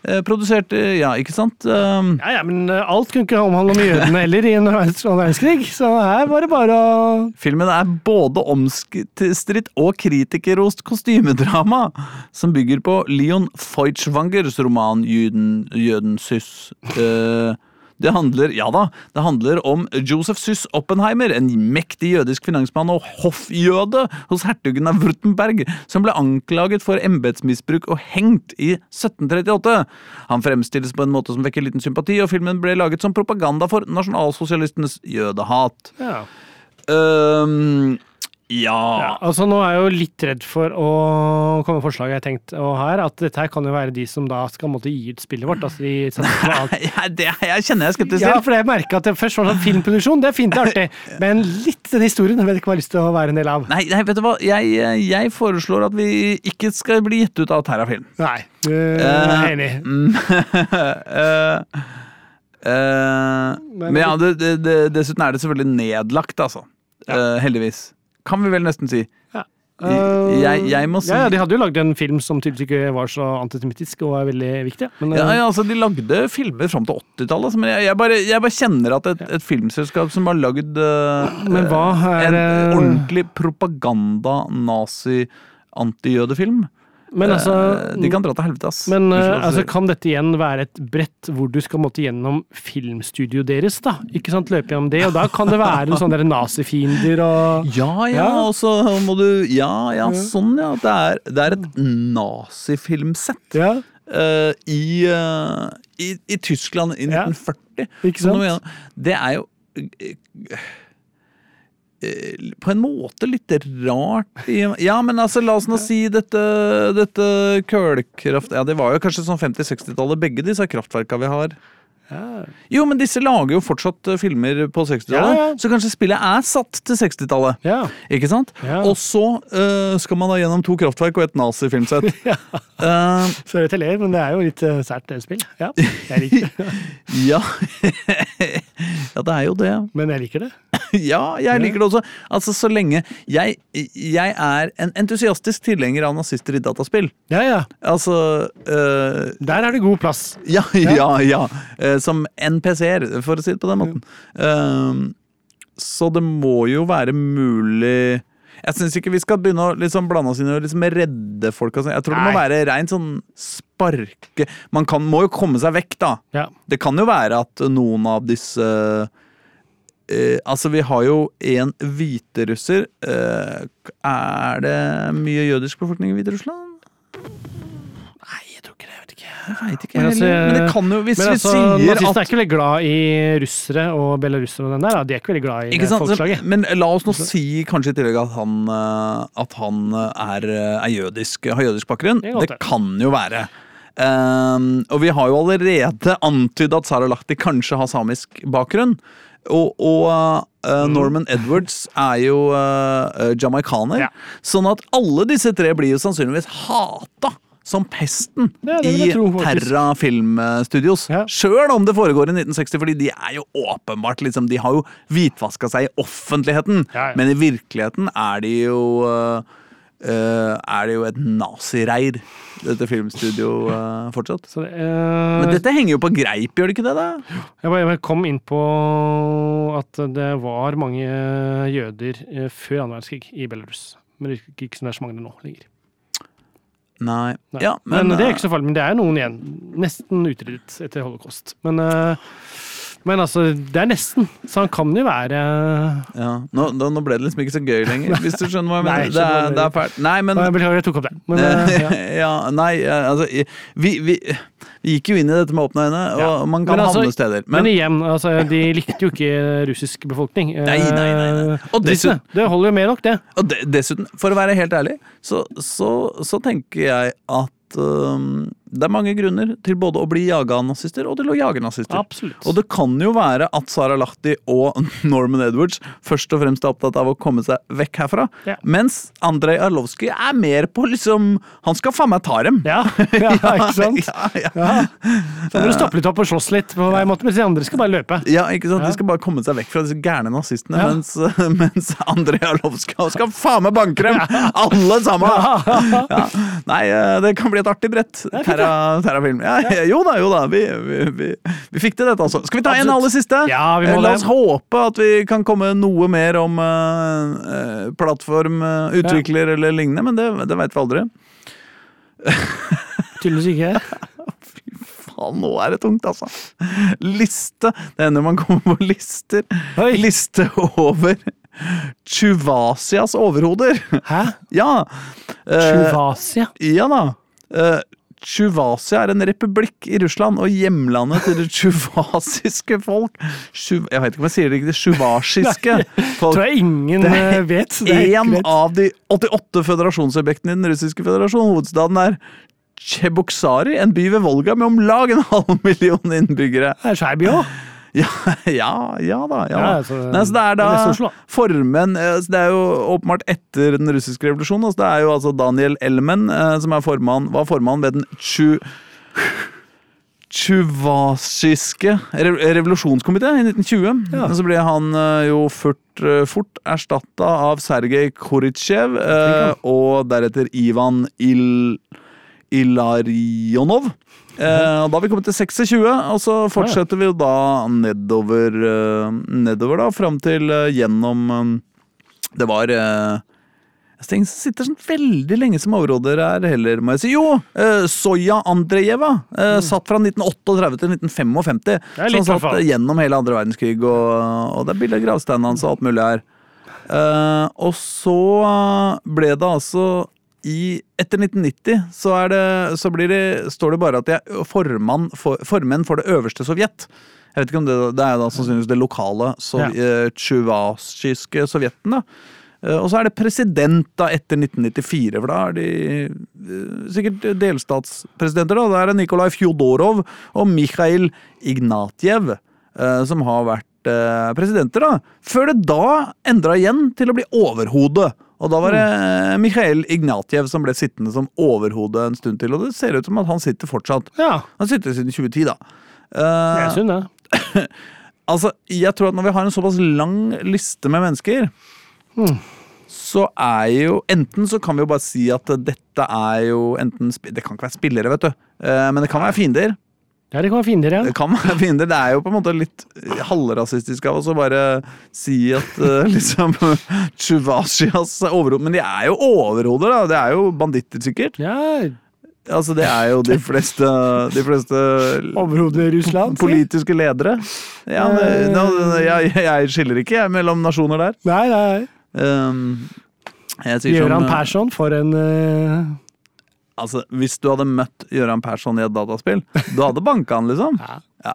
[SPEAKER 1] eh, Produsert eh, Ja, ikke sant? Um,
[SPEAKER 3] Ja, ja, men eh, alt kunne ikke omhandle om jødene heller i en <laughs> annen verdenskrig, så her var det bare å
[SPEAKER 1] Filmen er både omstridt og kritikerrost kostymedrama, som bygger på Leon Feuchtwangers roman Juden, Jøden Syss. Eh, det handler, ja da, det handler om Josef Syss Oppenheimer, en mektig jødisk finansmann og hoffjøde hos hertugen av Wurtenberg, som ble anklaget for embetsmisbruk og hengt i 1738. Han fremstilles på en måte som vekker liten sympati, og filmen ble laget som propaganda for nasjonalsosialistenes jødehat.
[SPEAKER 3] ja.
[SPEAKER 1] Øhm, <laughs> ja.
[SPEAKER 3] Altså, Nå er jeg jo litt redd for å komme med forslaget jeg har tenkt og her, at dette her kan jo være de som da skal måtte gi ut spillet vårt. altså de
[SPEAKER 1] <laughs>
[SPEAKER 3] setter på alt.
[SPEAKER 1] Jeg, det, jeg kjenner jeg er skeptisk
[SPEAKER 3] Ja,
[SPEAKER 1] til.
[SPEAKER 3] for jeg merket at det først var sånn filmproduksjon, det er fint, det er
[SPEAKER 1] <laughs>
[SPEAKER 3] artig, men litt den historien vet jeg ikke om jeg har lyst til å være en del av.
[SPEAKER 1] Nei, nei, vet du hva? Jeg, jeg foreslår at vi ikke skal bli gitt ut av Terrafilm.
[SPEAKER 3] Nei, du er enig.
[SPEAKER 1] Eh, Mm. Eh, eh, men ja, det, det, det, dessuten er det selvfølgelig nedlagt, altså. Eh, heldigvis. Kan vi vel nesten si.
[SPEAKER 3] Eh,
[SPEAKER 1] jeg- jeg må si-
[SPEAKER 3] ja, ja, De hadde jo lagd en film som tydeligvis ikke var så antisemittisk og er veldig viktig. Men,
[SPEAKER 1] Ja,
[SPEAKER 3] eh,
[SPEAKER 1] ja, altså, de lagde filmer fram til 80-tallet, altså, men jeg, jeg, bare, jeg bare kjenner at et, et filmselskap som har lagd eh,
[SPEAKER 3] Men hva er,
[SPEAKER 1] en
[SPEAKER 3] eh,
[SPEAKER 1] ordentlig propaganda-nazi-antijødefilm
[SPEAKER 3] men altså
[SPEAKER 1] Eh, De kan dra til helvete, ass.
[SPEAKER 3] Men
[SPEAKER 1] Unnskyld,
[SPEAKER 3] eh, altså,
[SPEAKER 1] altså.
[SPEAKER 3] kan dette igjen være et brett hvor du skal måtte gjennom filmstudioet deres, da? Ikke sant, løpe gjennom det, og da kan det være noen sånne der nazifiender og
[SPEAKER 1] ja, ja,
[SPEAKER 3] Ja.
[SPEAKER 1] og så må du Ja, ja, sånn, ja. Det er, det er et nazifilmsett
[SPEAKER 3] ja.
[SPEAKER 1] eh, i, eh, i, i Tyskland i
[SPEAKER 3] Ja.
[SPEAKER 1] 1940.
[SPEAKER 3] Ikke
[SPEAKER 1] Som
[SPEAKER 3] sant?
[SPEAKER 1] de mener, Det er jo eh, eh, på en måte litt rart i- Ja, men altså, la oss nå si dette, dette kullkraft... Ja, det var jo kanskje sånn 50-60-tallet, begge disse kraftverka vi har.
[SPEAKER 3] Ja.
[SPEAKER 1] Jo, men disse lager jo fortsatt eh, filmer på 60-tallet,
[SPEAKER 3] Ja, ja.
[SPEAKER 1] så kanskje spillet er satt til 60-tallet.
[SPEAKER 3] ja.
[SPEAKER 1] Ikke sant?
[SPEAKER 3] Ja.
[SPEAKER 1] Og så eh, skal man da gjennom to kraftverk og et nazifilmsett. Eh,
[SPEAKER 3] Sorry at jeg ler, men det er jo litt eh, sært det spill. Ja,
[SPEAKER 1] <laughs>
[SPEAKER 3] jeg liker det.
[SPEAKER 1] ja. ja, det er jo det.
[SPEAKER 3] Men jeg liker det.
[SPEAKER 1] Ja, jeg liker det også. Altså, så lenge Jeg, jeg er en entusiastisk tilhenger av nazister i dataspill.
[SPEAKER 3] Ja, ja.
[SPEAKER 1] Altså øh,
[SPEAKER 3] Der er det god plass.
[SPEAKER 1] Ja, <laughs> ja, ja. Eh, Som NPC-er, for å si det på den måten. Ehm, så det må jo være mulig Jeg syns ikke vi skal begynne å liksom blande oss inn og liksom redde folk. og sånn. Jeg tror det må
[SPEAKER 3] Nei.
[SPEAKER 1] være reint sånn sparke Man kan, må jo komme seg vekk, da.
[SPEAKER 3] Ja.
[SPEAKER 1] Det kan jo være at noen av disse eh, altså, vi har jo en hviterusser. Eh, er det mye jødisk befolkning i Hviterussland?
[SPEAKER 3] Nei, jeg tror ikke det. Jeg vet ikke.
[SPEAKER 1] Jeg veit ikke.
[SPEAKER 3] Men
[SPEAKER 1] Men,
[SPEAKER 3] altså,
[SPEAKER 1] men det kan jo, hvis
[SPEAKER 3] Men altså,
[SPEAKER 1] vi sier
[SPEAKER 3] nazistene
[SPEAKER 1] at
[SPEAKER 3] er ikke veldig glad i russere og belarussere og den der. Da. De er ikke veldig glad i
[SPEAKER 1] Ikke
[SPEAKER 3] det
[SPEAKER 1] sant?
[SPEAKER 3] folkeslaget.
[SPEAKER 1] Men la oss nå si kanskje i tillegg at han, eh, at han eh, er, eh, er jødisk, har jødisk bakgrunn.
[SPEAKER 3] Det kan godt
[SPEAKER 1] Det
[SPEAKER 3] være.
[SPEAKER 1] kan jo være. Ehm, og vi har jo allerede antydet at Sara Lahti kanskje har samisk bakgrunn. Og, og eh, Norman Edwards er jo uh, jamaikaner.
[SPEAKER 3] Ja.
[SPEAKER 1] Sånn at alle disse tre blir jo sannsynligvis hata som pesten
[SPEAKER 3] Ja, det vil
[SPEAKER 1] i
[SPEAKER 3] jeg tro, faktisk.
[SPEAKER 1] Terra Filmstudios.
[SPEAKER 3] Ja.
[SPEAKER 1] Sjøl om det foregår i 1960, fordi de er jo åpenbart liksom, De har jo hvitvaska seg i offentligheten,
[SPEAKER 3] Ja, ja.
[SPEAKER 1] men i virkeligheten er de jo øh, øh, er det jo et nazireir, dette filmstudio øh, fortsatt.
[SPEAKER 3] Så det, eh,
[SPEAKER 1] Men dette henger jo på greip, gjør det ikke det? da?
[SPEAKER 3] jeg, bare, jeg bare kom inn på at det var mange jøder eh, før annen verdenskrig i Belarus. Men det virker ikke som det er så mange det nå lenger.
[SPEAKER 1] Nei.
[SPEAKER 3] Nei.
[SPEAKER 1] Ja,
[SPEAKER 3] men, eh,
[SPEAKER 1] men,
[SPEAKER 3] det er
[SPEAKER 1] øh,
[SPEAKER 3] ikke så farlig, men det er noen igjen. Nesten utryddet etter holocaust. Men, eh, men altså, det er nesten. Så han kan jo være
[SPEAKER 1] eh, ja. nå, da- nå ble det liksom ikke så gøy lenger, hvis du skjønner hva jeg
[SPEAKER 3] <laughs> Nei,
[SPEAKER 1] mener.
[SPEAKER 3] jeg
[SPEAKER 1] Det er,
[SPEAKER 3] skjønner hva du
[SPEAKER 1] det er fælt. Nei, men
[SPEAKER 3] Nei, Beklager, jeg tok opp det. Men, eh, ja.
[SPEAKER 1] <laughs> ja. nei, eh, altså i- vi, vi, vi gikk jo inn i dette med åpne øyne, og
[SPEAKER 3] Ja.
[SPEAKER 1] man kan
[SPEAKER 3] Men altså-
[SPEAKER 1] havne steder.
[SPEAKER 3] Men, igjen, altså, de likte jo ikke russisk befolkning. Eh,
[SPEAKER 1] Nei, nei, nei, nei. Og dessuten-
[SPEAKER 3] Det holder jo med nok, det.
[SPEAKER 1] Og de, dessuten, for å være helt ærlig, så, så, så tenker jeg at øhm, det er mange grunner til både å bli jaga av nazister og til å jage nazister.
[SPEAKER 3] Absolutt.
[SPEAKER 1] Og det kan jo være at Sara Lahti og <laughs> Norman Edwards først og fremst er opptatt av å komme seg vekk herfra,
[SPEAKER 3] Ja.
[SPEAKER 1] mens Andrej Arlovskij er mer på liksom Han skal faen meg ta dem!
[SPEAKER 3] ja, <laughs> ja,
[SPEAKER 1] <laughs>
[SPEAKER 3] ikke sant?
[SPEAKER 1] Ja, ja.
[SPEAKER 3] Ja.
[SPEAKER 1] Eh.
[SPEAKER 3] Så må du stoppe litt opp og slåss litt, på hver måte, mens de andre skal bare løpe.
[SPEAKER 1] Ja, ikke sant?
[SPEAKER 3] Ja.
[SPEAKER 1] De skal bare komme seg vekk fra disse gærne nazistene,
[SPEAKER 3] Ja.
[SPEAKER 1] mens, <laughs> mens André Arlovskij skal faen meg banke dem! Alle sammen! Ja. Nei, eh, det kan bli et artig brett.
[SPEAKER 3] er fint,
[SPEAKER 1] Terra, terrafilm. Ja, ja, <laughs> jo da, jo da. Vi, vi, vi, vi fikk til dette, altså. Skal vi ta en
[SPEAKER 3] Absolutt.
[SPEAKER 1] aller siste?
[SPEAKER 3] Ja, vi må
[SPEAKER 1] Eh, La
[SPEAKER 3] det.
[SPEAKER 1] oss håpe at vi kan komme noe mer om eh, eh, plattform, eh, utvikler eller lignende, men det, det veit vi aldri.
[SPEAKER 3] <laughs> Tydeligvis ikke.
[SPEAKER 1] Faen, nå er det tungt, altså. Liste. Det hender man kommer på lister.
[SPEAKER 3] Oi.
[SPEAKER 1] Liste over Chuvasias overhoder. <laughs>
[SPEAKER 3] Hæ?
[SPEAKER 1] Ja. Eh,
[SPEAKER 3] Tsjuvasia?
[SPEAKER 1] ja da. Eh, Tsjuvasia er en republikk i Russland og hjemlandet
[SPEAKER 3] <laughs>
[SPEAKER 1] til det tsjuvasiske folk. Tsju- jeg vet ikke om jeg sier det riktig. Tsjuvasiske folk.
[SPEAKER 3] Tror jeg ingen
[SPEAKER 1] er
[SPEAKER 3] eh, vet. Det er
[SPEAKER 1] En
[SPEAKER 3] helt greit.
[SPEAKER 1] av de 88 føderasjonsobjektene i den russiske føderasjonen. Hovedstaden er Tsjebuksari, en by ved Volga med om lag en halv million innbyggere.
[SPEAKER 3] Det er Skeiby òg.
[SPEAKER 1] Ja, <laughs> ja, ja da. Ja.
[SPEAKER 3] Ja,
[SPEAKER 1] da.
[SPEAKER 3] altså,
[SPEAKER 1] Nei, så det er da
[SPEAKER 3] det er nesten Oslo.
[SPEAKER 1] formen eh, så Det er jo åpenbart etter den russiske revolusjonen. Altså, det er jo altså Daniel Elmen eh, som er formann, var formann ved den tju... Tsjuvasiske re revolusjonskomité i 1920.
[SPEAKER 3] Ja.
[SPEAKER 1] Og så ble han eh, jo fort, eh, fort erstatta av Sergej Koritsjev eh, og deretter Ivan Il... Ilarionov. Eh, og da har vi kommet til 26, og så fortsetter vi jo da nedover, eh, nedover da, fram til eh, gjennom eh, Det var eh, jeg tenker, sitter sånn veldig lenge som overråder her heller, må jeg si. Jo! Eh, Soya Andrejeva eh, satt fra 1938 til 1955.
[SPEAKER 3] Mm. er
[SPEAKER 1] Så
[SPEAKER 3] litt
[SPEAKER 1] han satt
[SPEAKER 3] hvertfall.
[SPEAKER 1] eh, gjennom hele andre verdenskrig, og, og det er bilde av gravsteinen hans og alt mulig her. Eh, og så eh, ble det altså i, etter 1990 så, er det, så blir det, står det bare at de er formann for, formenn for det øverste Sovjet. Jeg vet ikke om Det det er da sannsynligvis det lokale sov, eh, tsjuvasiske Sovjetten. da. Eh, Og så er det president da etter 1994, for da er de eh, sikkert delstatspresidenter. da. Da er det Nikolaj Fjodorov og Mikhail Ignatjev eh, som har vært eh, presidenter, da. Før det da endra igjen til å bli overhode. Og da var det eh, Mikhail Ignatjev som ble sittende som overhode en stund til, og det ser ut som at han sitter fortsatt.
[SPEAKER 3] Ja.
[SPEAKER 1] Han sitter siden 2010, da.
[SPEAKER 3] Det
[SPEAKER 1] Eh,
[SPEAKER 3] er synd, det.
[SPEAKER 1] Altså, jeg tror at Når vi har en såpass lang liste med mennesker, så er jo Enten så kan vi jo bare si at dette er jo enten sp- Det kan ikke være spillere, vet du. Eh, Men det kan være fiender.
[SPEAKER 3] Ja, det kan være fiender, ja.
[SPEAKER 1] Det kan være fiender. Det er jo på en måte litt halvrasistisk av oss å bare si at eh, <laughs> liksom Chuvashias er overhoder. Men de er jo overhoder, da. Det er jo banditter, sikkert.
[SPEAKER 3] ja.
[SPEAKER 1] Altså, det er jo de fleste, de fleste
[SPEAKER 3] Overhodet Russland. si.
[SPEAKER 1] politiske ledere. Ja, men, nå, jeg, jeg skiller ikke jeg, mellom nasjoner der.
[SPEAKER 3] Nei, nei.
[SPEAKER 1] Um, jeg sier som,
[SPEAKER 3] Gøran
[SPEAKER 1] eh,
[SPEAKER 3] Persson, for en eh,
[SPEAKER 1] altså, hvis du hadde møtt Gøran Persson i et dataspill, du hadde banka han, liksom.
[SPEAKER 3] <laughs> Ja.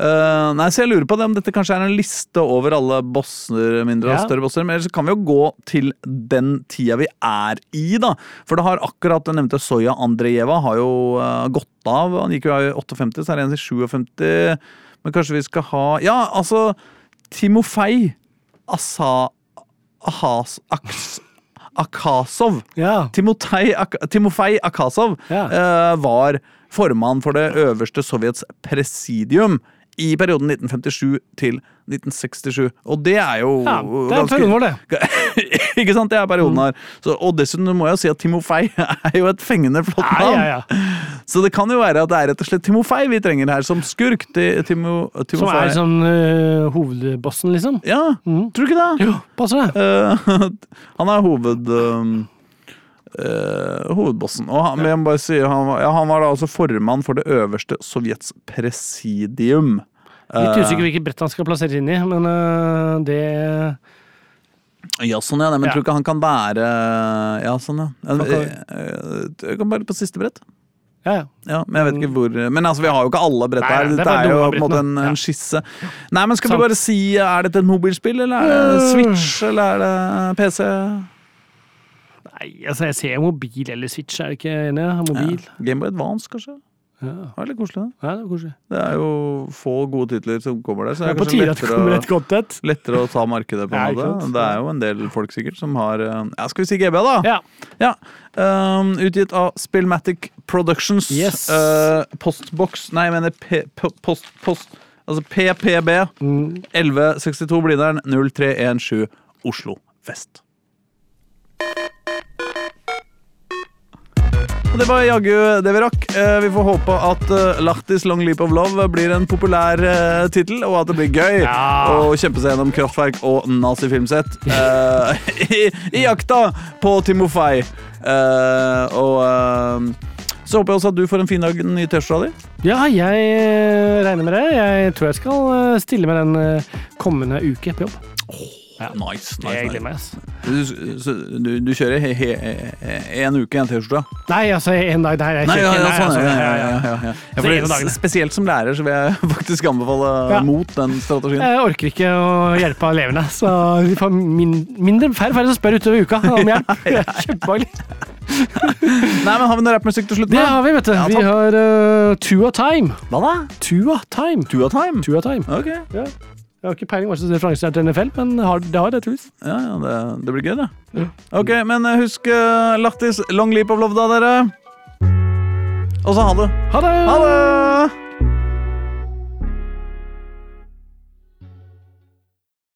[SPEAKER 1] Eh, nei, så jeg lurer på det, om dette kanskje er en liste over alle bosser, mindre og
[SPEAKER 3] Ja.
[SPEAKER 1] større bosser. Men ellers så kan vi jo gå til den tida vi er i, da. For det har akkurat den nevnte Soya Andrejeva har jo eh, gått av. Han gikk jo av i 58, så er det en i 57. Men kanskje vi skal ha Ja, altså Timofei Asa... Ahas... Aks... Akasov.
[SPEAKER 3] Ja.
[SPEAKER 1] Timotei Ak Timofei Akasov
[SPEAKER 3] Ja.
[SPEAKER 1] eh, var formann for det øverste Sovjets presidium i perioden 1957 til 1967. Og det er jo
[SPEAKER 3] ja. Det er perioden vår, det.
[SPEAKER 1] <laughs>
[SPEAKER 3] Mm.
[SPEAKER 1] Ikke sant? Det er perioden her. Så, og dessuten må jeg jo si at Timofei <laughs> er jo et fengende flott
[SPEAKER 3] Ja,
[SPEAKER 1] navn.
[SPEAKER 3] ja, ja.
[SPEAKER 1] Så det kan jo være at det er rett og slett Timofei vi trenger her, som skurk. Ti- Timo,
[SPEAKER 3] Som
[SPEAKER 1] Timofei.
[SPEAKER 3] er sånn eh, hovedbossen, liksom.
[SPEAKER 1] Ja, tror du ikke det?
[SPEAKER 3] Jo, passer det.
[SPEAKER 1] Eh, <laughs> han er hoved... eh, eh, hovedbossen. Og han, men jeg må bare si, han, var, ja, han var da altså formann for det øverste Sovjets presidium.
[SPEAKER 3] Litt
[SPEAKER 1] Eh.
[SPEAKER 3] usikker hvilket brett han skal plasseres inn i, men eh, det
[SPEAKER 1] Ja, sånn ja, nei, men
[SPEAKER 3] Ja.
[SPEAKER 1] tror ikke han kan være Ja, sånn ja. Jeg,
[SPEAKER 3] kan-
[SPEAKER 1] jeg, jeg, jeg kan bare på siste brett.
[SPEAKER 3] Ja, ja.
[SPEAKER 1] Ja, men jeg vet ikke hvor Men altså, vi har jo ikke alle brett
[SPEAKER 3] Nei,
[SPEAKER 1] her.
[SPEAKER 3] det er
[SPEAKER 1] Dette
[SPEAKER 3] bare
[SPEAKER 1] er, jo
[SPEAKER 3] noen av
[SPEAKER 1] på en måte en,
[SPEAKER 3] brettene. Ja.
[SPEAKER 1] en skisse. Nei, men skal
[SPEAKER 3] Sant.
[SPEAKER 1] vi bare si Er dette et mobilspill, eller er det Switch, eller er det PC?
[SPEAKER 3] Nei, altså, jeg ser mobil eller Switch, er det ikke enig? Mobil.
[SPEAKER 1] Gameboy Advance, kanskje?
[SPEAKER 3] Ja.
[SPEAKER 1] Det var litt koselig, det.
[SPEAKER 3] Nei, det er koselig.
[SPEAKER 1] Det er jo få gode titler som kommer der, så
[SPEAKER 3] Det
[SPEAKER 1] det
[SPEAKER 3] er
[SPEAKER 1] er
[SPEAKER 3] på
[SPEAKER 1] kanskje
[SPEAKER 3] tide at det
[SPEAKER 1] lettere,
[SPEAKER 3] kommer et
[SPEAKER 1] å-
[SPEAKER 3] content.
[SPEAKER 1] lettere å ta markedet på
[SPEAKER 3] Ja,
[SPEAKER 1] en
[SPEAKER 3] ikke
[SPEAKER 1] måte.
[SPEAKER 3] sant?
[SPEAKER 1] Det er jo en del folk sikkert som har eh, Ja, skal vi si GB, da?
[SPEAKER 3] Ja.
[SPEAKER 1] Ja. Ehm, utgitt av Spillmatic Productions.
[SPEAKER 3] Yes.
[SPEAKER 1] Eh, postbox Nei, jeg mener P, P, post, post Altså PPB.
[SPEAKER 3] Mm.
[SPEAKER 1] 1162 Blindern 0317 Oslo Vest. Og Det var jaggu det vi rakk. Eh, Vi får håpe at eh, Lahtis Long Leap of Love blir en populær eh, tittel, og at det blir gøy
[SPEAKER 3] Ja.
[SPEAKER 1] å kjempe seg gjennom kraftverk og nazifilmsett eh, <laughs> i, i jakta på Timofei. Eh, og eh, så håper jeg også at du får en fin dag i den nye T-skjorta di.
[SPEAKER 3] ja, jeg eh, regner med det. Jeg tror jeg skal eh, stille med den eh, kommende uke på jobb.
[SPEAKER 1] Nice,
[SPEAKER 3] Det jeg gleder meg, ass.
[SPEAKER 1] Du, så, du, du kjører he, he, he- en uke i en T-skjorte?
[SPEAKER 3] Nei, altså, en dag der. Jeg
[SPEAKER 1] Nei, ja,
[SPEAKER 3] kjører-
[SPEAKER 1] ja,
[SPEAKER 3] nei,
[SPEAKER 1] sånn,
[SPEAKER 3] altså,
[SPEAKER 1] ja, ja,
[SPEAKER 3] ja,
[SPEAKER 1] ja,
[SPEAKER 3] ja.
[SPEAKER 1] ja, ja.
[SPEAKER 3] Så
[SPEAKER 1] For
[SPEAKER 3] en av dagene.
[SPEAKER 1] s- Spesielt som lærer så vil jeg <laughs> faktisk anbefale
[SPEAKER 3] Ja.
[SPEAKER 1] mot den strategien.
[SPEAKER 3] Jeg orker ikke å hjelpe elevene, så de får min, mindre færre færre som spør utover uka om
[SPEAKER 1] <laughs>
[SPEAKER 3] hjelp. Det <laughs> er Kjempebehagelig.
[SPEAKER 1] Nei, men Har vi noe rappmusikk til slutt?
[SPEAKER 3] Det
[SPEAKER 1] da?
[SPEAKER 3] har vi, vet du.
[SPEAKER 1] Ja,
[SPEAKER 3] Vi
[SPEAKER 1] takk.
[SPEAKER 3] har eh, Two of Time.
[SPEAKER 1] Hva da?
[SPEAKER 3] Two of Time.
[SPEAKER 1] Tua Time?
[SPEAKER 3] Two of Time.
[SPEAKER 1] Ok,
[SPEAKER 3] Ja. Jeg har ikke peiling hva slags referanse det er til NFL, men har, det har det tydeligvis.
[SPEAKER 1] ja, ja, det, det blir gøy, det. Ok, Men eh, husk eh, Lahtis Long Leap of Love, da, dere. Og så ha det.
[SPEAKER 3] Ha det!
[SPEAKER 1] Ha det!